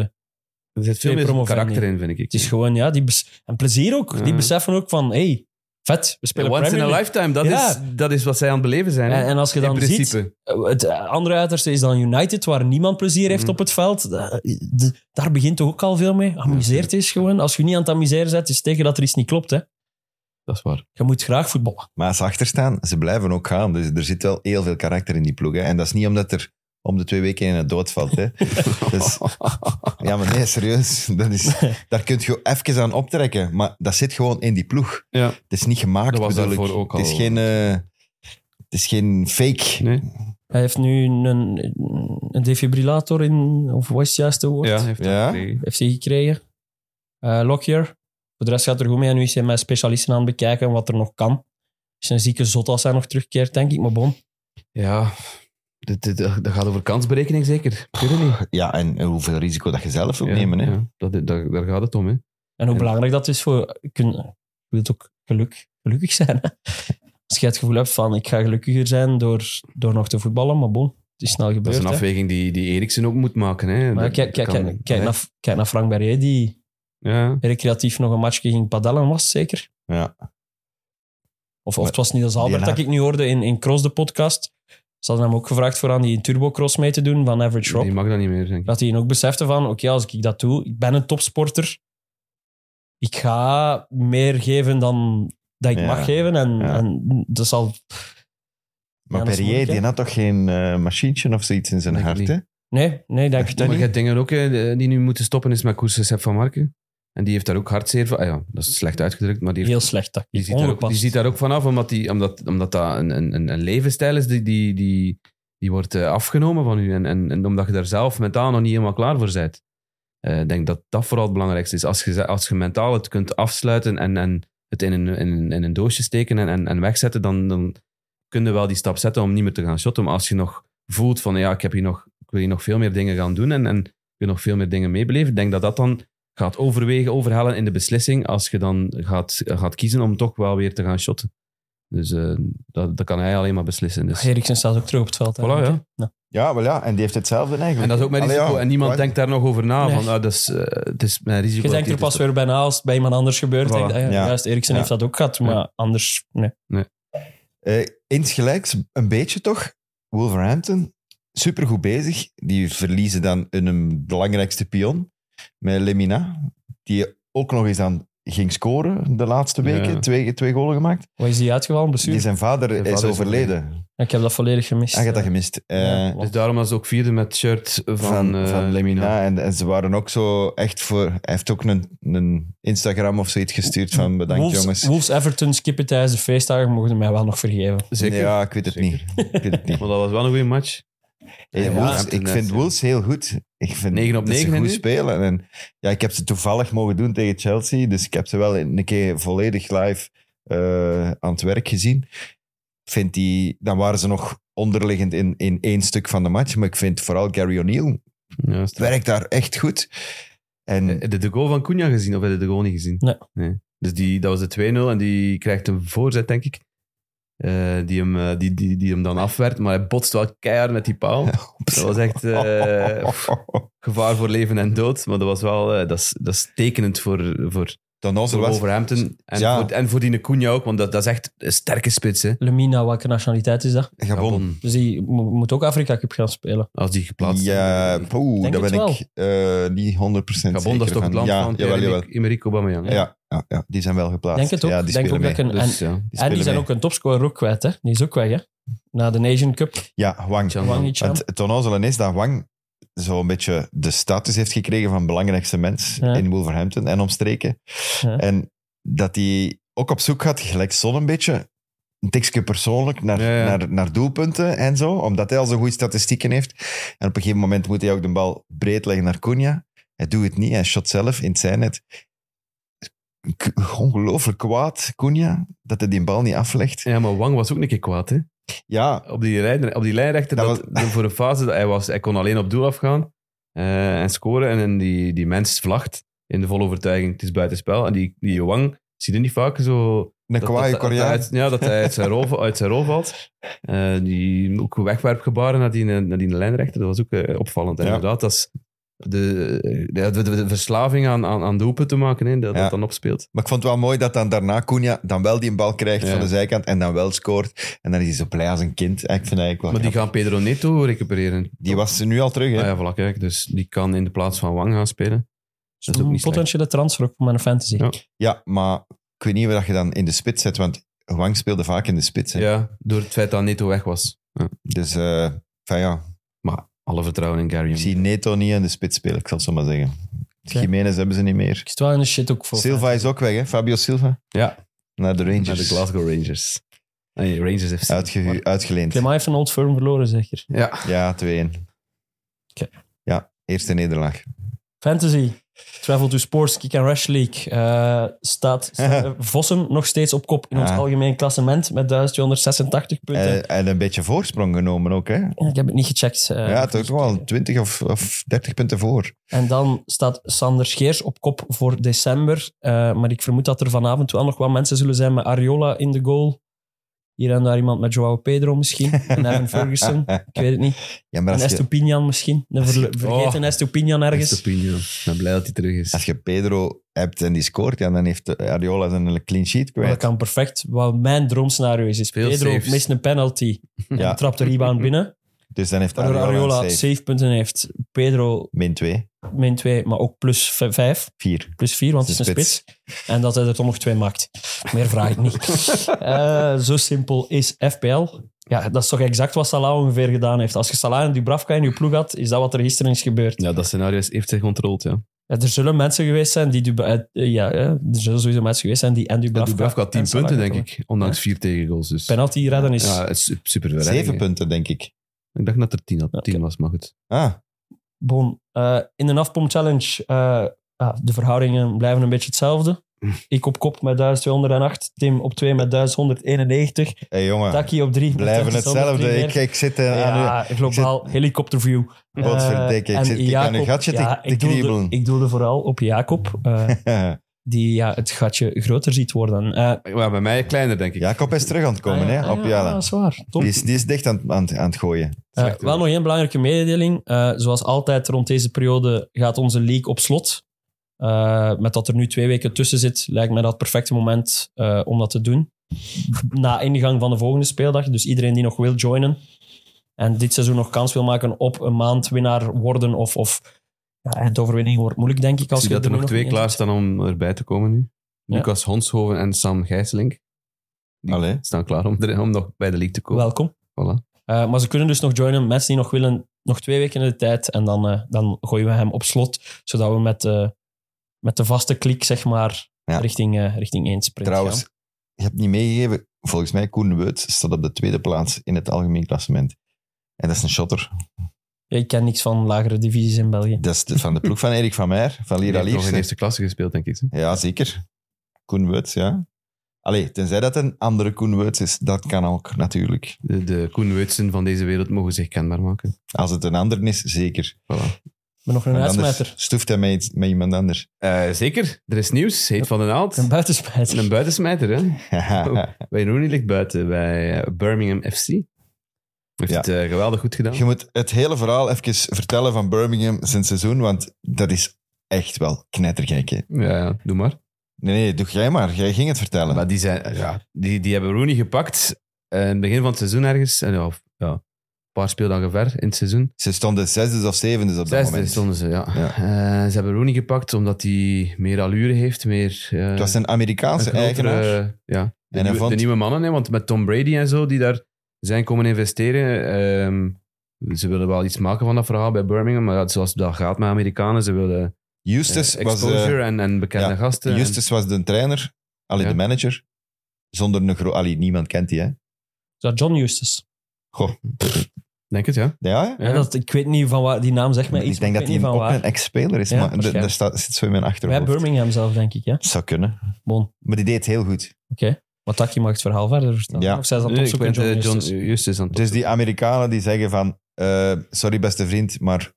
C: Er zit veel
B: Twee
C: meer
B: promovendi.
C: karakter in, vind ik.
B: Het is gewoon, ja, die bes- en plezier ook.
C: Ja.
B: Die beseffen ook van, hé, hey, Vet, we spelen
C: Mhm. Once in
B: Premier
C: a
B: League.
C: lifetime, dat,
B: Ja.
C: is, dat is wat zij aan het beleven zijn. hè?
B: En, en als je
C: In
B: dan
C: principe.
B: ziet, het eh, andere uiterste is dan United, waar niemand plezier heeft
C: Mhm.
B: op het veld. Da- de- daar begint toch ook al veel mee.
C: Mhm.
B: Amuseert is gewoon. Als je niet aan het amuseren bent, is tegen dat er iets niet klopt. Hè.
C: Dat is waar.
B: Je moet graag voetballen.
A: Maar ze achterstaan, ze blijven ook gaan. Dus er zit wel heel veel karakter in die ploeg. Hè. En dat is niet omdat er om de twee weken in het dood valt. Hè. Dus, ja, maar nee, serieus. Dat is, daar kun je even aan optrekken. Maar dat zit gewoon in die ploeg.
C: Ja.
A: Het is niet gemaakt,
C: Dat was
A: bedoel ik.
C: daarvoor ook
A: Het is
C: al-
A: geen... eh, het is geen fake.
C: Nee?
B: Hij heeft nu een, een defibrillator in, of wat is het juiste woord?
C: Ja, heeft
A: Ja.
C: dat gekregen.
B: heeft hij gekregen. Eh, Lockyer. Voor de rest gaat er goed mee. En nu is hij met specialisten aan het bekijken wat er nog kan. Is een zieke zot als hij nog terugkeert, denk ik. Maar bon.
C: Ja, dit, dit, dat gaat over kansberekening zeker. Ik weet het niet.
A: Ja, en hoeveel risico dat je zelf wilt
C: Ja,
A: nemen. Hè.
C: ja. Dat, dat, daar gaat het om. Hè.
B: En hoe
C: Ja.
B: belangrijk dat is voor... Ik kun- ik wil het ook geluk, gelukkig zijn. hè. Als je het gevoel hebt van ik ga gelukkiger zijn door, door nog te voetballen. Maar bon, het is snel
C: Dat is
B: gebeurd.
C: een
B: hè.
C: afweging die, die Eriksen ook moet maken. Hè.
B: Maar
C: Dat-
B: kijk,
C: dat
B: kijk,
C: kan-
B: kijk, kijk, naar, kijk naar Frank Barrier, die
C: Ja.
B: recreatief nog een matchje ging padellen was, zeker?
A: Ja.
B: Of, of
A: Maar
B: het was niet als Albert
A: die
B: dat ik nu hoorde in, in Cross, de podcast. Ze hadden hem ook gevraagd voor aan die turbocross mee te doen van Average Rob.
C: Die mag dat niet meer, denk ik.
B: Dat hij ook besefte van, oké, als ik dat doe, ik ben een topsporter. Ik ga meer geven dan dat ik
A: Ja.
B: mag geven. En,
A: Ja.
B: en dat zal...
A: Maar
B: Ja, dat is
A: Perrier,
B: moeilijk, hè.
A: die had toch geen eh, machientje of zoiets in zijn
C: Denk ik
A: hart, hè?
C: niet.
B: Nee, nee, denk ik
A: dat
B: dat
C: maar
B: niet.
C: je hebt dingen ook hè, die nu moeten stoppen, is met koersen Sepp van Marken. En die heeft daar ook hartzeer van. Ah ja, dat is slecht uitgedrukt, maar die, heeft-
B: Heel slecht
C: die,
B: tactiek.
C: ziet, daar ook, die
B: Ongepast.
C: ziet daar ook vanaf, omdat, die, omdat, omdat dat een, een, een- een levensstijl is die, die, die, die wordt eh, afgenomen van u. En, en, en omdat je daar zelf mentaal nog niet helemaal klaar voor bent. Eh, Ik denk dat dat vooral het belangrijkste is. Als je, ze- als je mentaal het kunt afsluiten en, en het in een, in, een- in een doosje steken en, en, en wegzetten, dan, dan kun je wel die stap zetten om niet meer te gaan shotten. Maar als je nog voelt van, ja, ik, heb hier nog, ik wil hier nog veel meer dingen gaan doen en, en ik wil nog veel meer dingen meebeleven, ik denk dat dat dan gaat overwegen, overhalen in de beslissing als je dan gaat, gaat kiezen om toch wel weer te gaan shotten. Dus eh, dat, dat kan hij alleen maar beslissen.
A: Ah,
C: Dus.
B: Eriksen staat ook terug op het veld.
C: Voilà,
B: eigenlijk,
C: ja.
B: hè. Ja.
A: Ja, wel ja. En die heeft hetzelfde eigenlijk.
C: En dat is ook mijn
A: Allee,
C: risico.
A: ja,
C: en niemand
A: kwijt.
C: denkt daar nog over na.
B: Nee.
C: Van, ah, dat is, eh, het is mijn risico.
B: Je
C: dat
B: denkt er
C: dit
B: pas
C: is.
B: weer bijna als het bij iemand anders gebeurt.
C: Voilà.
B: Denk, je, ah ja,
A: Ja.
B: Juist, Eriksen
A: Ja.
B: heeft dat ook gehad, maar anders... Nee.
A: Eh, insgelijks, een beetje toch. Wolverhampton, supergoed bezig. Die verliezen dan hun belangrijkste pion met Lemina. Die ook nog eens aan ging scoren de laatste weken.
C: Ja.
A: Twee, twee golen gemaakt.
B: Wat is die uitgevallen?
A: Die
B: Blessure?
A: zijn vader,
C: vader
A: is
C: is
A: overleden.
B: Ik heb dat volledig gemist.
A: Ah, je hebt dat gemist. Eh,
B: Ja,
C: Dus daarom was het ook vierde met het shirt van,
A: van,
C: eh,
A: van
C: Lemina.
A: Lemina. En, en ze waren ook zo echt voor... Hij heeft ook een, een Instagram of zoiets gestuurd van bedankt
B: Wolves,
A: jongens.
B: Wolves Everton skippen tijdens de feestdagen mogen mij wel nog vergeven.
C: Zeker.
A: Ja, ik weet het
C: Zeker.
A: niet. Ik weet het niet.
C: Maar dat was wel een goede match.
A: Hey,
C: Ja,
A: Wolves,
C: Hampton
A: ik
C: net,
A: vind
C: ja.
A: Wolves heel goed. Ik vind
C: Negen op
A: dat ze
C: negen, hè,
A: goed
C: nu?
A: spelen. En, ja, ik heb ze toevallig mogen doen tegen Chelsea, dus ik heb ze wel een keer volledig live eh, aan het werk gezien. Ik Vind die, dan waren ze nog onderliggend in, in één stuk van de match, maar ik vind vooral Gary O'Neill
C: Ja, is-
A: werkt daar echt goed. En
C: Heb je de goal van Cunha gezien of heb je de goal niet gezien?
B: Nee.
C: Dus die, dat was de 2-0 en die krijgt een voorzet, denk ik. Eh, die, hem, eh, die, die, die hem dan afwerkt, maar hij botst wel keihard met die paal. Dat was echt eh, pff, gevaar voor leven en dood. Maar dat was wel eh, dat is, dat is tekenend voor, voor,
A: dan was er
C: voor
A: was.
C: Wolverhampton. En,
A: Ja.
C: voor, en voor die Cunha ook, want dat, dat is echt een sterke spits. Hè.
B: Lemina, welke nationaliteit is dat?
A: Gabon.
B: Dus die mo- moet ook Afrika Cup gaan spelen.
C: Als die geplaatst
A: Ja,
C: wordt.
A: poeh,
B: Denk
A: daar
B: het
A: ben ik eh, niet 100%
C: Gabon, dat is
A: zeker
C: toch het
A: van.
C: land
A: ja,
C: van
A: jawel, jawel.
C: Emery Aubameyang. hè?
A: Ja, ja, ja, die zijn wel geplaatst.
B: Denk het ook.
A: Ja, die
B: Denk
A: spelen
B: ook
A: mee.
B: dat ik een-
C: Dus ja,
A: Die
B: en die
A: spelen
B: zijn
A: mee.
B: ook een topscorer ook kwijt, hè? Die is ook weg, hè? Na de Asian Cup.
A: Ja, Wang.
C: Tjan-
B: Wang Ichan.
A: Want het onnozele is dat Wang zo'n beetje de status heeft gekregen van belangrijkste mens
B: Ja.
A: in Wolverhampton en omstreken.
B: Ja.
A: En dat hij ook op zoek gaat, gelijk Son een beetje, een tikje persoonlijk, naar,
C: Ja, ja.
A: Naar, naar doelpunten en zo, omdat hij al zo goede statistieken heeft. En op een gegeven moment moet hij ook de bal breed leggen naar Cunha. Hij doet het niet, hij shot zelf in het zijnet. K- Ongelooflijk kwaad, Cunha, dat hij die bal niet aflegt.
C: Ja, maar Wang was ook een keer kwaad, hè?
A: Ja,
C: op die, lijn, op die lijnrechter,
A: Dat
C: dat voor een fase dat hij was, hij kon alleen op doel afgaan eh, en scoren. En, en die, die mens vlacht in de volle overtuiging, het is buitenspel. En die, die Wang, zie je niet vaak zo...
A: een
C: dat, dat-
A: kwaaie
C: dat hij
A: Koreaan.
C: uit- ja, dat hij uit zijn rol, uit zijn rol valt. Eh, die ook wegwerpgebaren naar die, naar die lijnrechter, dat was ook eh, opvallend. En
A: Ja.
C: Inderdaad, dat is, de, de, de- de verslaving aan, aan, aan doelpunten te maken, hè, dat
A: Ja.
C: dat dan opspeelt.
A: Maar ik vond het wel mooi dat dan daarna Cunha dan wel die bal krijgt
C: Ja.
A: van de zijkant en dan wel scoort. En dan is hij zo blij als een kind. Ik vind het eigenlijk wel
C: Maar die
A: grappig.
C: gaan Pedro Neto recupereren.
A: die was nu al terug, hè?
C: Ah ja, voilà, kijk. Dus die kan in de plaats van Wang gaan spelen. Dat is ook
B: Dus Een
C: niet slecht.
B: potentiële transfer ook voor mijn fantasy.
C: Ja.
A: Ja, maar ik weet niet waar je dan in de spits zet, want Wang speelde vaak in de spits. Hè?
C: Ja, door het feit dat Neto weg was.
A: Dus eh, enfin ja,
C: Alle vertrouwen in Gary.
A: ik zie Neto niet in de spits spelen, ik zal het zo maar zeggen.
B: Oké.
A: Jiménez hebben ze niet meer.
B: Ik zit wel in de shit ook voor.
A: Silva is ook weg, hè? Fabio Silva?
C: Ja.
A: Naar de Rangers.
C: Naar de Glasgow Rangers. Nee, Rangers FC.
A: Uitgehu- Uitgeleend.
B: Clement heeft van Old Firm verloren, zeker.
C: Ja.
A: Ja, 2-1.
B: Oké.
A: Ja, eerste nederlaag.
B: Fantasy. Travel to Sports Kick and Rush League. eh, staat staat, eh, Vossen nog steeds op kop in ons
A: Ja. Eh,
B: algemeen klassement met 1286 punten.
A: En, en een beetje voorsprong genomen ook, hè?
B: ik heb het niet gecheckt. eh,
A: ja,
B: nog
A: het is ook
B: niet
A: wel
B: gekeken.
A: 20 of, of 30 punten voor.
B: En dan staat Sander Scheers op kop voor december. Eh, maar ik vermoed dat er vanavond wel nog wel mensen zullen zijn met Ariola in de goal. Hier en daar iemand met Joao Pedro misschien. En Evan Ferguson. Ik weet het niet.
A: Ja, maar
B: En
A: als je,
B: Estupinian misschien. De
A: Als je-
B: verle- vergeten
C: Oh.
B: Estupinian ergens.
C: Estopinian. Ik ben blij dat hij terug is.
A: als je Pedro hebt en die scoort, ja, dan heeft Ariola zijn clean sheet
B: Maar
A: kwijt.
B: dat kan perfect. Wat mijn droomscenario is, is
C: Veel
B: Pedro
C: saves.
B: mist een penalty
A: Ja.
B: en trapt de rebound binnen.
A: Dus dan heeft
B: Waardoor
A: Ariola, een
B: Ariola
A: save.
B: 7 punten heeft. Pedro
A: min 2,
B: min 2, maar ook plus 5.
A: 4.
B: plus 4, want
A: Het
B: het
A: is
B: is een
A: een
B: spits. En dat hij er toch nog twee maakt. Meer vraag ik niet. Eh, zo simpel is FPL. Ja, dat is toch exact wat Salah ongeveer gedaan heeft. Als je Salah en Dubravka in je ploeg had, is dat wat er gisteren is gebeurd.
C: Ja, dat scenario is- heeft zich ontrold, ja.
B: Ja, Er zullen mensen geweest zijn die... Dubra- eh, ja, eh, er zullen sowieso mensen geweest zijn die en
C: ja
B: Dubravka...
C: Dubravka had 10
B: en Salah
C: punten, denk
B: hebben.
C: ik. Ondanks 4 tegengoals. Dus.
B: Penalty redden is...
C: Ja, het is super verrijking,
A: 7
C: hè.
A: punten, denk ik.
C: Ik dacht dat er 10 had.
B: Oké.
C: 10 was, maar goed.
A: Ah,
B: Bon, eh, in de afpomp challenge, eh, ah, de verhoudingen blijven een beetje hetzelfde. Ik op kop met 1208, Tim op 2 met 1191,
A: hey, jongen.
B: Taki op 3
A: Blijven hetzelfde. Ik, ik zit eh, aan
B: Ja, globaal helikopterview.
A: Godverdikke, ik
B: Eh,
A: zit-
B: en
A: ik kan een
B: Jacob-
A: gatje te-
B: ja,
A: te
B: ik doelde-
A: kriebelen.
B: Ik doelde vooral op Jacob, eh,
A: u.
B: die ja, het gatje groter ziet worden. Eh,
C: Maar bij mij kleiner, denk ik.
A: Jacob is terug aan het komen,
B: ah,
A: hè,
B: ah,
A: op
B: Ja,
A: Jelle.
B: dat is waar. Top.
A: Die is, die is dicht aan, het- aan, het- aan het gooien.
B: Eh,
C: Slecht,
B: wel
C: hoor.
B: nog één belangrijke mededeling. Eh, zoals altijd rond deze periode gaat onze league op slot. Eh, met dat er nu twee weken tussen zit, lijkt mij dat het perfecte moment eh, om dat te doen. Na ingang van de volgende speeldag. Dus iedereen die nog wil joinen en dit seizoen nog kans wil maken op een maand winnaar worden of... of ja, en de overwinning wordt moeilijk, denk ik.
C: Ik
B: Als
C: zie
B: je
C: dat er nog
B: nu
C: twee
B: niet in
C: klaar
B: zit.
C: staan om erbij te komen nu.
B: Ja.
C: Lucas Honshoven en Sam Gijsling Die-
A: Allee.
C: staan klaar om, er, om nog bij de league te komen.
B: Welkom.
C: Voilà.
B: Eh, maar ze kunnen dus nog joinen. Mensen die nog willen, nog twee weken in de tijd. En dan, eh, dan gooien we hem op slot. Zodat we met, eh, met de vaste klik, zeg maar,
A: Ja.
B: richting, eh, richting één sprint
A: Trouwens,
B: gaan.
A: je hebt niet meegegeven. Volgens mij, Koen Weut staat op de tweede plaats in het algemeen klassement. En dat is een shotter.
B: Ja, ik ken niks van lagere divisies in België.
A: Dat is de- van de ploeg van Erik van Meijer, van
C: Die
A: Lira
C: heeft nog in
A: Liersen.
C: eerste klasse gespeeld, denk ik. hè?
A: Ja, zeker. Koen Weuts, ja. Allee, tenzij dat een andere Koen Weuts is, dat kan ook natuurlijk.
C: De, de Koen Weutsen van deze wereld mogen zich kenbaar maken.
A: Als het een ander is, zeker.
C: Voilà.
B: Maar nog een
A: Want anders
B: uitsmijter.
A: stoeft hij met, iets- met iemand anders.
C: Eh, zeker, er is nieuws. Heet van den Aalt.
B: Een buitensmijter.
C: Een buitensmijter, hè? Wayne Rooney ligt buiten bij eh, Birmingham FC. Heeft
A: Ja.
C: het eh, geweldig goed gedaan.
A: Je moet het hele verhaal even vertellen van Birmingham zijn seizoen, want dat is echt wel knettergek. hè.
C: Ja, ja, doe maar.
A: Nee, nee, doe jij maar. Jij ging het vertellen.
C: Maar die, zijn, ja, die, die hebben Rooney gepakt eh, in het begin van het seizoen ergens. En ja, of- ja, een paar speeldagen ver in het seizoen.
A: Ze stonden zesde of zevende op dat
C: Zesde
A: moment.
C: stonden ze, ja.
A: Ja.
C: Eh, ze hebben Rooney gepakt omdat hij meer allure heeft, meer... eh,
A: Het was een Amerikaanse
C: een grotere,
A: eigenaar.
C: eh, ja, de,
A: En hij
C: nieuwe,
A: vond-
C: de nieuwe mannen, hè, want met Tom Brady en zo, die daar zijn komen investeren. ehm, ze willen wel iets maken van dat verhaal bij Birmingham, maar ja, zoals dat gaat met Amerikanen, ze willen eh,
A: Justus, was,
C: exposure
A: eh,
C: en, en bekende
A: ja,
C: gasten. en-
A: Justus was de trainer, allee,
C: Ja.
A: de manager. Zonder een groot... Allee, niemand kent die, hè?
B: Is dat John Eustace?
A: Goh,
C: denk het, ja.
A: ja, ja.
B: Ja. dat, ik weet niet van waar... Die naam zegt mij
A: Maar
B: iets,
A: ik denk
B: maar
A: dat
B: ik
A: hij
B: weet niet
A: ook
B: van
A: een
B: waar.
A: ex-speler is,
B: Ja,
A: maar d-
B: waarschijnlijk.
A: daar staat, zit zo in mijn
B: Bij
A: achterhoofd.
B: Birmingham zelf, denk ik, ja.
A: Het zou kunnen.
B: Bon, oké.
A: Maar die deed het heel goed.
B: Maar Taki mag het verhaal verder vertellen.
A: Ja.
B: Of zij is aan het
C: Nee, ik
B: opzoeken,
C: ben,
B: John
C: eh, John
B: Eustace.
C: Justus aan het
A: Dus die Amerikanen die zeggen van, eh, sorry beste vriend, maar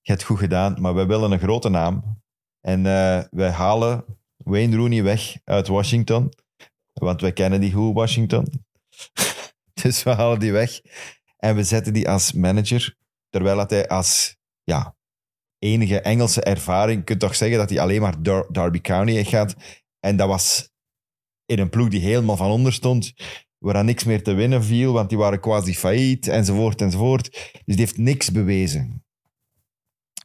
A: je hebt goed gedaan, maar wij willen een grote naam. En eh, wij halen Wayne Rooney weg uit Washington, want wij kennen die goed, Washington. dus we halen die weg en we zetten die als manager, terwijl dat hij als ja, enige Engelse ervaring. Je kunt toch zeggen dat hij alleen maar Dar- Derby County heeft gehad. En dat was in een ploeg die helemaal van onder stond, waar aan niks meer te winnen viel, want die waren quasi failliet, enzovoort, enzovoort. Dus die heeft niks bewezen.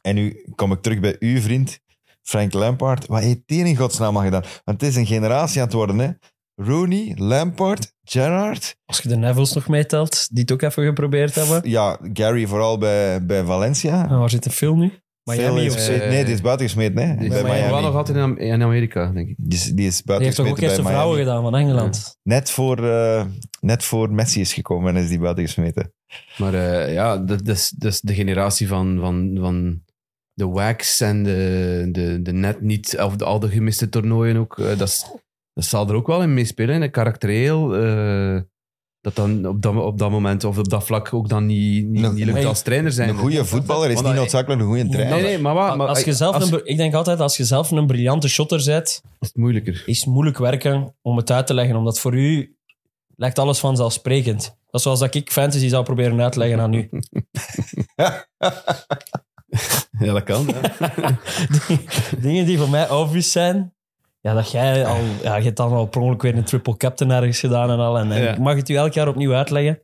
A: En nu kom ik terug bij uw vriend, Frank Lampard. Wat heeft die in godsnaam al gedaan? Want het is een generatie aan het worden, hè. Rooney, Lampard, Gerrard.
B: Als je de Nevels nog meetelt, die het ook even geprobeerd hebben.
A: Ja, Gary vooral bij, bij Valencia.
B: En waar zit de film nu?
A: Veel
B: Ah, Miami
A: is
B: of zo.
A: gesmeed.
C: Eh,
A: nee, die is buitengesmeed, nee.
C: Die
A: bij
B: Miami.
A: Miami.
C: wel nog altijd in, Am- in Amerika, denk ik.
A: Die is, die is
B: Die heeft toch ook
A: buitengesmeten
B: eerst de
A: bij Miami.
B: vrouwen gedaan van Engeland.
A: Net voor, eh, net voor Messi is gekomen en is die buitengesmeten.
C: Maar eh, ja, dat, dat, is, dat is de generatie van, van, van de wax en de, de, de net niet, of de, al de gemiste toernooien ook. eh, dat, is- dat zal er ook wel in meespelen, hè, karaktereel. eh, dat dan op dat, op dat moment of op dat vlak ook dan niet, niet,
A: Nog-
C: niet lukt
B: hey,
C: als trainer zijn.
A: Een goede voetballer is
C: Want
A: niet
C: dat-
A: noodzakelijk een goede trainer.
C: Nee, nee, maar, wat, Ah, maar
B: als je zelf
C: als-
B: een, br- ik denk altijd, als je zelf een briljante shotter bent,
C: is het moeilijker.
B: is het moeilijk werken om het uit te leggen. Omdat voor u lijkt alles vanzelfsprekend. Dat is zoals dat ik fantasy zou proberen uit te leggen aan u.
C: Ja, dat kan.
B: Dingen die voor mij obvious zijn. Ja, dat jij al... Ja, je hebt dan al per ongeluk weer een triple captain ergens gedaan en al. En, en
C: Ja.
B: ik mag het u elk jaar opnieuw uitleggen.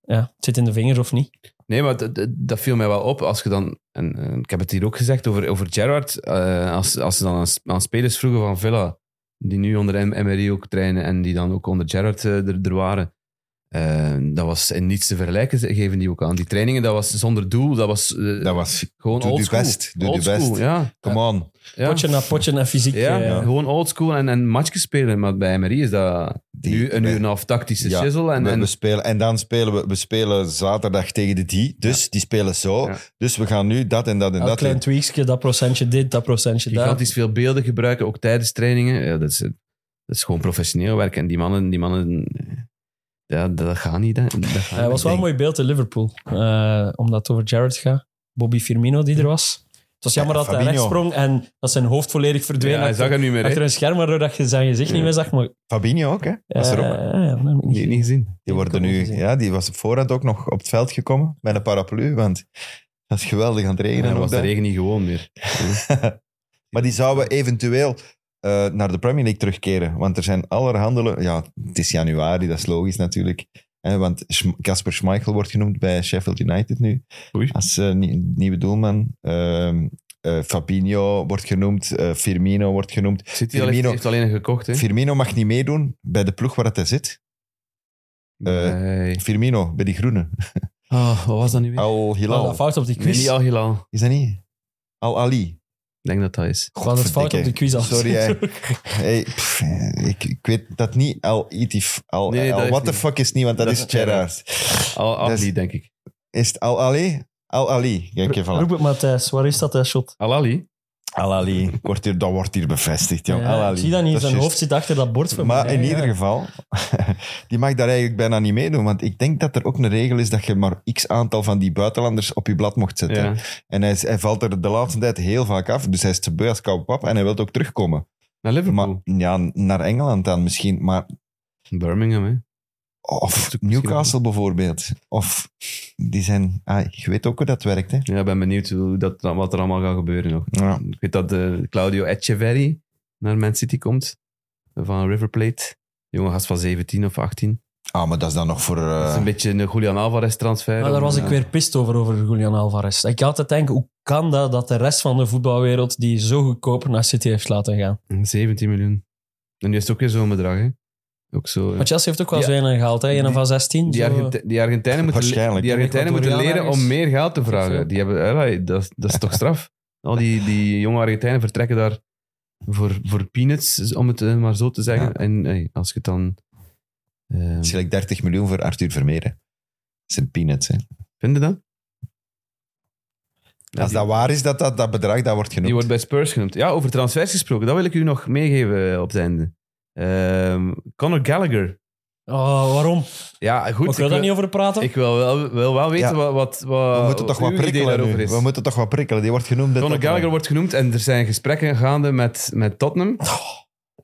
B: Ja, het zit in de vingers of niet.
C: Nee, maar dat- dat- dat viel mij wel op. Als je dan, en, eh, ik heb het hier ook gezegd over, over Gerrard. eh, als, als ze dan aan, s- aan spelers vroegen van Villa, die nu onder M- MRI ook trainen en die dan ook onder Gerrard eh, er, er waren. eh, dat was in niets te vergelijken, ze- geven die ook aan. Die trainingen, dat was zonder doel. Dat was, eh,
A: Dat was...
C: gewoon
A: doe je
C: oldschool.
A: best, doe je
C: Oldschool,
A: best.
C: Ja,
A: Come on.
C: ja.
B: Potje na potje en fysiek.
C: Ja,
B: eh,
C: gewoon oldschool en, en matchjes spelen. Maar bij MRI is dat
A: Die-
C: nu een
A: bij-
C: uur en een half tactische
A: Ja,
C: shizzle. En,
A: we,
C: en
A: we spelen, en dan spelen we, we spelen zaterdag tegen de die, dus die spelen zo.
C: Ja.
A: Dus we gaan nu dat en dat en
B: Elk
A: dat
B: klein
A: doen.
B: tweaksje, dat procentje dit, dat procentje dat.
C: gigantisch veel beelden gebruiken, ook tijdens trainingen. Ja, dat, is, dat is gewoon professioneel werk. En die mannen, die mannen eh, ja, dat gaat niet. hè. Dat gaat
B: Eh, Het was wel een mooi beeld in Liverpool. eh, omdat het over Jared gaat. Bobby Firmino die er was. Het was jammer
A: Ja,
B: dat hij
A: Fabinho.
B: rechts sprong en dat zijn hoofd volledig verdween.
C: Ja, hij
B: achter,
C: zag er niet meer. hè.
B: achter een scherm waardoor dat je zijn gezicht
C: Ja.
B: niet meer zag. Maar,
A: Fabinho ook, hè? Was er
B: eh,
A: ook.
B: ja, dat heb ik niet
C: Die niet gezien.
A: Die, worden
B: kan ik
A: nu,
B: niet zien.
A: ja, die was op voorhand ook nog op het veld gekomen met een paraplu, want dat is geweldig aan het regenen.
C: En dan
A: ook
C: was de
A: daar.
C: regen niet gewoon meer.
A: Maar die zouden eventueel eh, naar de Premier League terugkeren. Want er zijn allerhandelen. Ja, het is januari, dat is logisch natuurlijk. hè, want Schm- Kasper Schmeichel wordt genoemd bij Sheffield United nu.
C: Oei.
A: Als eh, nie- nieuwe doelman. Ehm, eh, Fabinho wordt genoemd. eh, Firmino wordt genoemd.
C: City al heeft,
A: Firmino-
C: heeft alleen een gekocht. Hè?
A: Firmino mag niet meedoen bij de ploeg waar dat hij zit. Eh,
C: Nee.
A: Firmino, bij die groene.
C: Ah, wat was dat nu weer?
A: Al
B: gezien. Oh,
A: Hilal.
B: dat fout op die
C: Ik weet
B: quiz.
C: niet, Al Hilal. Ik
A: Is dat niet? Al Ali.
C: denk dat dat is.
B: We hadden het fout op de
A: Godverdikke.
B: quiz al.
A: Sorry, hè. Hey, pff, ik, ik weet dat niet. Al Itif. Al,
C: Nee, dat
A: al
C: is
A: what the
C: niet.
A: fuck is niet, want dat,
C: Dat
A: is
C: is Gerrard.
A: Gerard.
C: Al Ali,
A: Dat is-
C: denk ik.
A: Is het Al Ali? Al Ali. Kijk even
B: Roep
A: aan.
B: het Matthijs, waar is dat hè, shot?
C: Al Ali?
A: Al Ali. Ik word hier, dat wordt hier bevestigd, jong.
B: Ja,
A: Al
B: ik
A: Ali.
B: Eh, zie dat niet,
A: is
B: zijn
A: juist.
B: hoofd zit achter dat bord van
A: Maar
B: mij,
A: in
B: ja.
A: ieder geval, die mag daar eigenlijk bijna niet meedoen. Want ik denk dat er ook een regel is dat je maar x aantal van die buitenlanders op je blad mocht zetten.
C: Ja.
A: En hij, is- hij valt er de laatste tijd heel vaak af. Dus hij is te beu als koude pap en hij wil ook terugkomen.
C: Naar Liverpool.
A: Maar ja, naar Engeland dan misschien. Maar
C: Birmingham, hè.
A: Of Newcastle bijvoorbeeld. Of die zijn... Ah, je weet ook hoe dat werkt, hè?
C: Ja, ik ben benieuwd hoe dat, wat er allemaal gaat gebeuren nog.
A: Ja.
C: Ik weet dat eh, Claudio Echeverri naar Man City komt. Van River Plate. Jonge gast van 17 of 18.
A: Ah, maar dat is dan nog voor... eh,
C: dat is een beetje een Julian Alvarez transfer.
B: Maar Ah, daar was ik weer pist over, over Julian Alvarez. Ik altijd denk, hoe kan dat dat de rest van de voetbalwereld die zo goedkoop naar City heeft laten gaan?
C: 17 miljoen. En nu is het ook weer zo'n bedrag, hè? Ook zo. eh.
B: Maar Chelsea heeft ook wel
C: Ja.
B: zo een gehaald, hè? Een
C: Die-
B: van 16.
C: Die,
B: zo. eh,
C: Argenti- die Argentijnen moeten, le-
A: Waarschijnlijk.
C: die Argentijnen moeten
B: Ecuadoriaan
C: leren om
B: ergens.
C: meer geld te
B: Zoveel.
C: vragen. Die hebben, eh, allee, dat, is- dat is toch straf? Al die, die jonge Argentijnen vertrekken daar voor, voor peanuts, om het eh, maar zo te zeggen.
A: Ja.
C: En hey, als je het dan... eh,
A: Het is gelijk 30 miljoen voor Arthur Vermeer, hè. Dat zijn peanuts, hè?
C: Vind je dat? Ja,
A: Als
C: die,
A: dat waar is, dat, dat, dat bedrag, dat wordt genoemd.
C: die wordt bij Spurs genoemd. Ja, over transfers gesproken, dat wil ik u nog meegeven eh, op het einde. Ehm, Conor Gallagher.
B: Oh, waarom?
C: Ja, goed.
B: ik wil daar niet over praten.
C: ik wil wel, wil wel weten
A: Ja.
C: wat, wat, wat
A: We moeten toch
C: uw
A: wat
C: idee
A: prikkelen
C: daarover
A: nu.
C: is.
A: We moeten toch wat prikkelen. Die wordt genoemd...
C: Conor
A: Tottenham.
C: Gallagher wordt genoemd en er zijn gesprekken gaande met, met Tottenham.
B: Oh.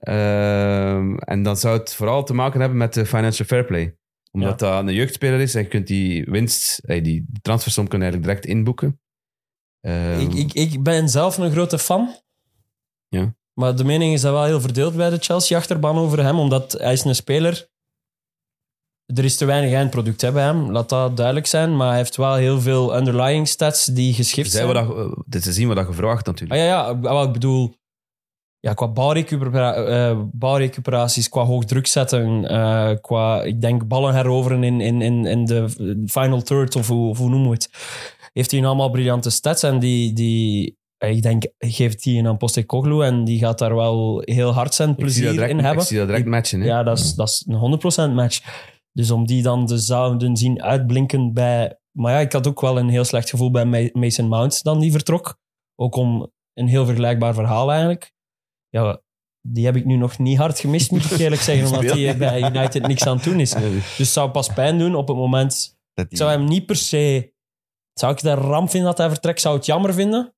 C: Ehm, en dan zou het vooral te maken hebben met de financial fair play. Omdat dat een jeugdspeler is en je kunt die winst, eh, die transfersom kun je eigenlijk direct inboeken. Ehm,
B: Ik, ik, ik ben zelf een grote fan.
C: Ja.
B: Maar de mening is dat wel heel verdeeld bij de Chelsea-achterban over hem, omdat hij is een speler... Er is te weinig eindproduct hè, bij hem, laat dat duidelijk zijn. Maar hij heeft wel heel veel underlying stats die geschift
C: zij
B: zijn.
C: wat dat, eh, dit is zien wat dat gevraagd natuurlijk.
B: Ah, ja, ja, ik- wel, ik bedoel... Ja, qua balrecupera- eh, balrecuperaties, qua hoog druk zetten, eh, qua, ik denk, ballen heroveren in, in, in, in de final third, of hoe, of hoe noemen we het, heeft hij een allemaal briljante stats en die, die eh, ik denk, geeft hij een aan Postecoglou en die gaat daar wel heel hard zijn
C: ik zie
B: plezier
C: dat direct,
B: in hebben.
C: Ik zie dat direct matchen. Hè?
B: Ja, dat is, dat is een 100% match. Dus om die dan te zouden zien uitblinken bij... Maar ja, ik had ook wel een heel slecht gevoel bij Ma- Mason Mount dan die vertrok. Ook om een heel vergelijkbaar verhaal eigenlijk. Ja, die heb ik nu nog niet hard gemist, moet ik eerlijk zeggen. Omdat die bij United niks aan het doen is. Dus het zou pas pijn doen op het moment...
A: Dat
B: Ik
A: die-
B: zou hem niet per se... Zou ik dat ramp vinden dat hij vertrekt? Zou ik het jammer vinden?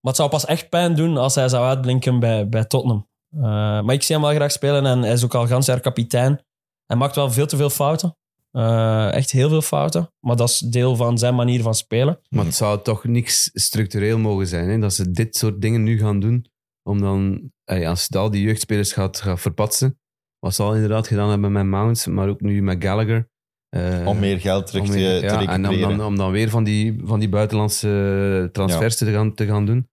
B: Maar het zou pas echt pijn doen als hij zou uitblinken bij, bij Tottenham. Eh, maar ik zie hem wel graag spelen en hij is ook al gans jaar kapitein. Hij maakt wel veel te veel fouten. Eh, echt heel veel fouten. Maar dat is deel van zijn manier van spelen.
C: Maar
A: Mhm.
C: het zou toch niks structureel mogen zijn, hè? dat ze dit soort dingen nu gaan doen, om dan, eh, als het al die jeugdspelers gaat, gaat verpatsen, wat ze al inderdaad gedaan hebben met Mounts, maar ook nu met Gallagher. eh,
A: om meer geld terug
C: om
A: te,
C: weer-
A: te
C: ja, En om
A: recupereren.
C: dan, om dan weer van die, van die buitenlandse transfers te, gaan, te gaan doen.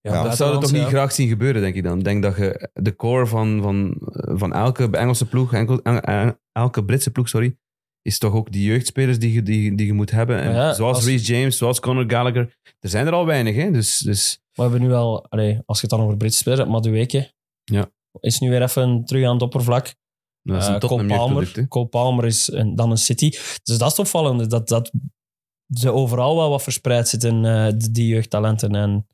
A: Ja,
C: Dat zou je toch niet graag zien gebeuren, denk ik dan. Ik denk dat je de core van, van, van elke Engelse ploeg, enkel, en- en- elke Britse ploeg, sorry, is toch ook die jeugdspelers die je, die, die je moet hebben. En
B: Ja,
C: zoals
B: als-
C: Reece James, zoals Conor Gallagher. Er zijn er al weinig, hè. Dus, dus
B: Maar we hebben nu wel, allee, als je het dan over Britse spelers hebt, Madueke
C: Ja.
B: is nu weer even terug aan het oppervlak.
C: dat is een
B: Eh,
C: Tottenham
B: Cole
C: jeugdproduct, hè.
B: Palmer, Cole Palmer is een, dan een City. Dus dat is het opvallende, dat, dat ze overal wel wat verspreid zitten, eh, d- die jeugdtalenten. En,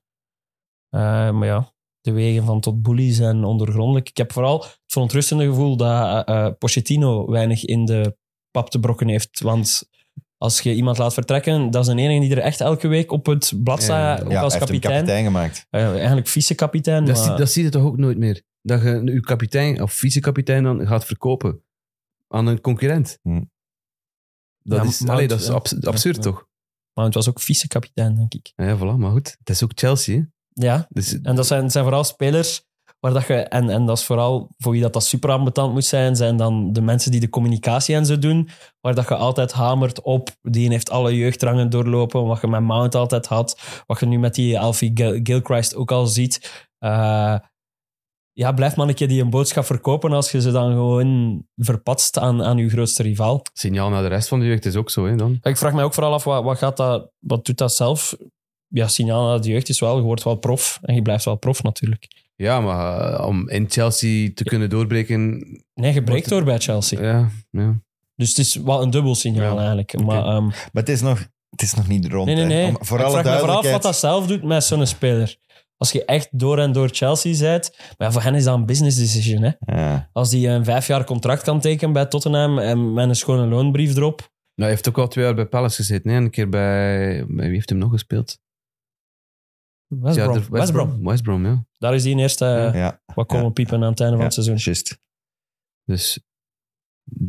B: eh, maar ja, de wegen van tot bully zijn ondergrondelijk. Ik heb vooral het verontrustende gevoel dat eh eh, Pochettino weinig in de pap te brokken heeft. Want als je iemand laat vertrekken, dat is een enige die er echt elke week op het blad staat,
C: Ja,
B: ook
A: ja,
B: als
A: hij heeft hem
B: kapitein.
A: kapitein gemaakt.
B: Eh, eigenlijk vice-kapitein.
C: Dat, zie,
B: maar-
C: dat zie je toch ook nooit meer. Dat je je kapitein of vice-kapitein dan gaat verkopen aan een concurrent.
A: Hm.
C: Dat,
B: Ja,
C: is,
B: maar-
C: allee, dat is
B: ja.
C: abs- absurd,
B: Ja.
C: toch?
B: maar het was ook vice-kapitein, denk ik.
C: Ja, voilà, maar goed. Het is ook Chelsea, hè.
B: Ja,
C: Dus
B: En dat zijn, zijn vooral spelers waar dat je, en, en dat is vooral voor wie dat, dat super ambetant moet zijn, zijn dan de mensen die de communicatie en zo doen, waar dat je altijd hamert op, die heeft alle jeugdrangen doorlopen, wat je met Mount altijd had, wat je nu met die Alfie Gil- Gilchrist ook al ziet. Eh, ja, blijf maar een keer die een boodschap verkopen als je ze dan gewoon verpatst aan, aan je grootste rivaal.
C: signaal naar de rest van de jeugd is ook zo, hè, dan.
B: Ik vraag mij ook vooral af, wat, wat, gaat dat, wat doet dat zelf? Ja, signaal naar de jeugd is wel, je wordt wel prof en je blijft wel prof natuurlijk.
C: Ja, maar eh, om in Chelsea te kunnen doorbreken...
B: Nee, je breekt
C: Wordt het-
B: door bij Chelsea.
C: Ja, ja.
B: Dus het is wel een dubbel signaal
C: Ja.
B: eigenlijk. Maar,
C: Oké. eh,
B: ehm,
A: Maar het is nog, het is nog niet rond.
B: nee, nee,
A: hè.
B: nee.
A: Om- voor alle
B: ik vraag me vooral af
A: duidelijkheid.
B: wat dat zelf doet met zo'n speler. Als je echt door en door Chelsea bent. Maar ja, voor hen is dat een business decision. Hè?
A: Ja.
B: Als die een vijf jaar contract kan tekenen bij Tottenham en met een schone loonbrief erop.
C: Nou, hij heeft ook al twee jaar bij Palace gezeten, hè. En een keer bij... bij Wie heeft hem nog gespeeld?
B: West Brom.
C: Ja,
B: West
C: de- West Brom. West Brom, ja.
B: Daar is die eerste eh,
A: Ja,
B: wat komen piepen aan het einde van het seizoen.
A: juist.
C: Dus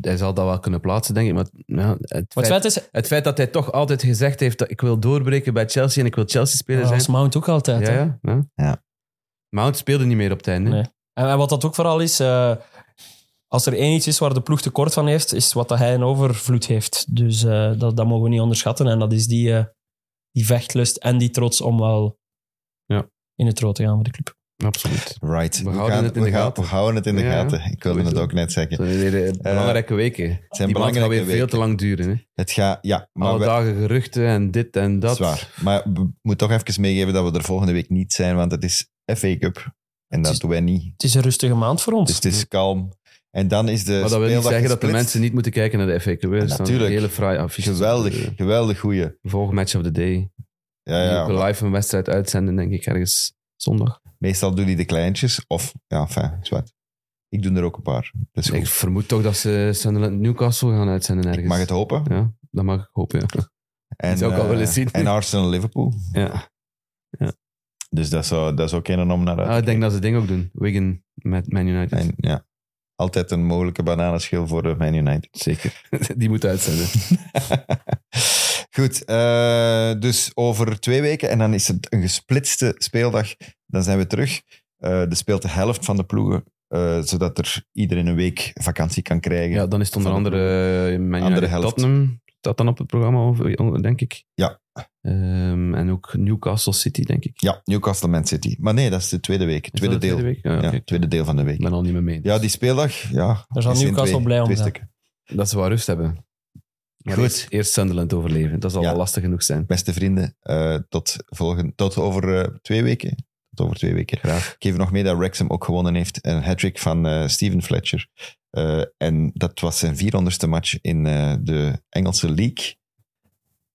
C: hij zal dat wel kunnen plaatsen, denk ik. Maar ja, het,
B: Maar het
C: feit,
B: feit is,
C: het feit dat hij toch altijd gezegd heeft dat ik wil doorbreken bij Chelsea en ik wil Chelsea-speler
B: dat
C: zijn...
B: was Mount eh, ook altijd.
C: Ja,
B: hè.
C: ja, ja.
A: Ja.
C: Mount speelde niet meer op het einde.
B: Nee. En, en wat dat ook vooral is, eh, als er één iets is waar de ploeg tekort van heeft, is wat dat hij in overvloed heeft. Dus eh, dat, dat mogen we niet onderschatten. En dat is die, eh, die vechtlust en die trots om wel
C: Ja.
B: in het rood te gaan voor de club.
C: Absoluut.
A: Right.
C: We houden het in
A: we
C: de
A: gaan-
C: gaten.
A: We houden het in de
C: Ja,
A: gaten. Ik wilde
C: sowieso.
A: het ook net zeggen.
C: Het zijn weer eh, belangrijke weken. Het
A: Het zijn
C: die maand gaat
A: belangrijke
C: weer
A: weken.
C: veel te lang duren. Hè.
A: Het gaat, ja, maar
C: Alle
A: we,
C: dagen geruchten en dit en dat.
A: dat is waar. Maar we moeten toch even meegeven dat we er volgende week niet zijn, want het is FA Cup. En dat
B: is-
A: doen wij niet.
B: Het is een rustige maand voor ons.
A: Dus het is kalm. En dan is de
C: Maar dat wil niet
A: speeldag
C: zeggen dat de
A: gesplitst.
C: mensen niet moeten kijken naar de FA Cup. hè. Er staan
A: natuurlijk.
C: Hele fraaie affiches.
A: Geweldig,
C: Eh,
A: geweldig goeie.
C: Volgende match of the day.
A: Ja,
C: Die
A: ja.
C: ook live een wedstrijd uitzenden, denk ik, ergens zondag.
A: Meestal doen die de kleintjes. Of, ja, fijn, zwart. Ik doe er ook een paar. Dus
C: Ik
A: goed.
C: vermoed toch dat ze Sunderland Newcastle gaan uitzenden ergens.
A: ik mag het hopen.
C: Ja, dat mag ik hopen, ja.
A: En,
C: zou ik al
A: eh,
C: willen zien.
A: En Arsenal-Liverpool.
C: ja.
A: Dus dat zou, dat zou kennen om naar uit
C: Ah,
A: te
C: ik denk dat ze het ding ook doen. Wigan met Man United.
A: kijken. En, ja. Altijd een mogelijke bananenschil voor eh, Man United.
C: Zeker. Die moet uitzenden.
A: Goed, eh, dus over twee weken, en dan is het een gesplitste speeldag, dan zijn we terug. Eh er speelt de helft van de ploegen, eh, zodat er iedereen een week vakantie kan krijgen.
C: Ja, dan is het onder
A: Van de
C: andere eh, Man
A: Andere
C: United
A: helft.
C: Tottenham. Dat dan op het programma, of- eh, denk ik.
A: Ja.
C: Ehm, en ook Newcastle City, denk ik.
A: Ja, Newcastle Man City. Maar nee, dat is de tweede week,
C: Is
A: tweede
C: dat de
A: deel.
C: week? Ja,
A: ja,
C: oké.
A: tweede deel van de
C: Ik
A: week.
C: ben al niet meer mee.
A: Ja, die speeldag, ja.
B: Daar zal
A: is in
B: Newcastle
A: twee-
B: blij om
A: twee
B: zijn.
A: stukken.
C: Dat ze wel rust hebben. Maar
A: Goed.
C: Eerst, eerst Sunderland overleven. Dat zal
A: Ja.
C: wel lastig genoeg zijn.
A: Beste vrienden, eh, tot, volgen, tot over eh, twee weken. Tot over twee weken.
C: Graag.
A: Ik geef nog mee dat Wrexham ook gewonnen heeft. Een hat-trick van eh, Steven Fletcher. Eh, en dat was zijn 400ste match in eh, de Engelse League.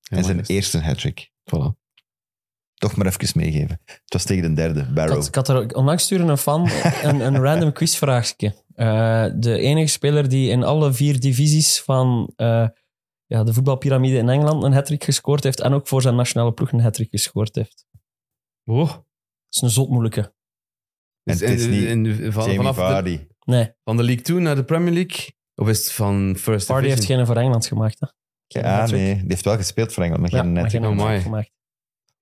A: en zijn
C: Helemaal
A: eerste hat-trick.
C: Voilà.
A: Toch maar even meegeven. Het was tegen de derde,
B: Ik
A: Barrow.
B: had, ik had er onlangs sturen een fan een, een random quizvraagje. Eh, de enige speler die in alle vier divisies van eh, ja, de voetbalpyramide in Engeland een hat gescoord heeft en ook voor zijn nationale ploeg een hat gescoord heeft.
C: Oh.
B: Dat is een zot moeilijke.
A: En het is niet
C: van,
A: Jamie
C: vanaf de,
A: Vardy.
B: Nee,
C: van de League 2 naar de Premier League? Of is het van First
B: Party heeft
C: Division?
B: geen voor Engeland gemaakt. Hè?
A: Ja,
B: hat-trick.
A: nee. Die heeft wel gespeeld voor Engeland, maar
B: Ja,
A: geen
B: maar
A: hat-trick.
B: geen hat-trick
C: Amai.
B: gemaakt.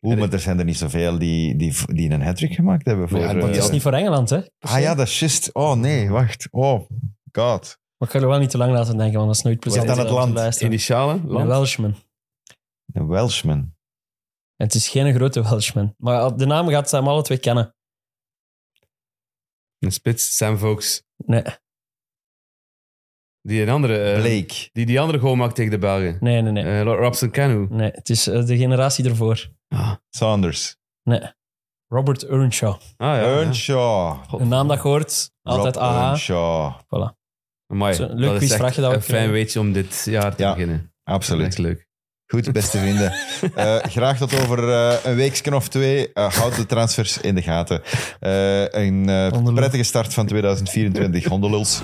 A: Oeh, maar er zijn er niet zoveel die, die, die een hat-trick gemaakt hebben. Voor,
C: Ja, maar die
B: Maar
A: eh,
B: het is niet voor Engeland, hè?
A: ah ja, dat is just. Oh nee, wacht. Oh, god.
B: Maar ik ga er wel niet te lang laten denken, want dat is nooit plezant.
A: dan het
B: om te
A: land?
B: luisteren.
C: Initialen?
B: Een
C: Land?
B: Welshman.
A: Een Welshman.
B: En het is geen grote Welshman. Maar de naam gaat ze hem alle twee kennen.
C: Een spits, Sam Vokes.
B: Nee,
C: Die een andere... eh,
A: Blake.
C: Die die andere goal maakt tegen de Belgen.
B: nee, nee. Nee,
C: Eh, Robson Canu.
B: nee het is eh, de generatie ervoor.
C: Ah,
A: Saunders.
B: Robert Earnshaw.
C: ah ja.
A: Earnshaw.
B: Een naam dat je hoort, altijd
A: Rob
B: AH.
A: Earnshaw.
B: Voilà.
C: Amai,
B: Zo, leuk
C: dat is echt
B: quizvraagje dat we
C: een fijn
B: kregen.
C: weetje om dit jaar te
A: Ja,
C: beginnen. Dat
A: Absoluut.
C: is leuk.
A: Goed, beste vrienden. Eh, graag tot over eh, een weeksken of twee. Eh, houd de transfers in de gaten. Eh, een eh,
B: Hondelul.
A: prettige start van 2024. Hondeluls.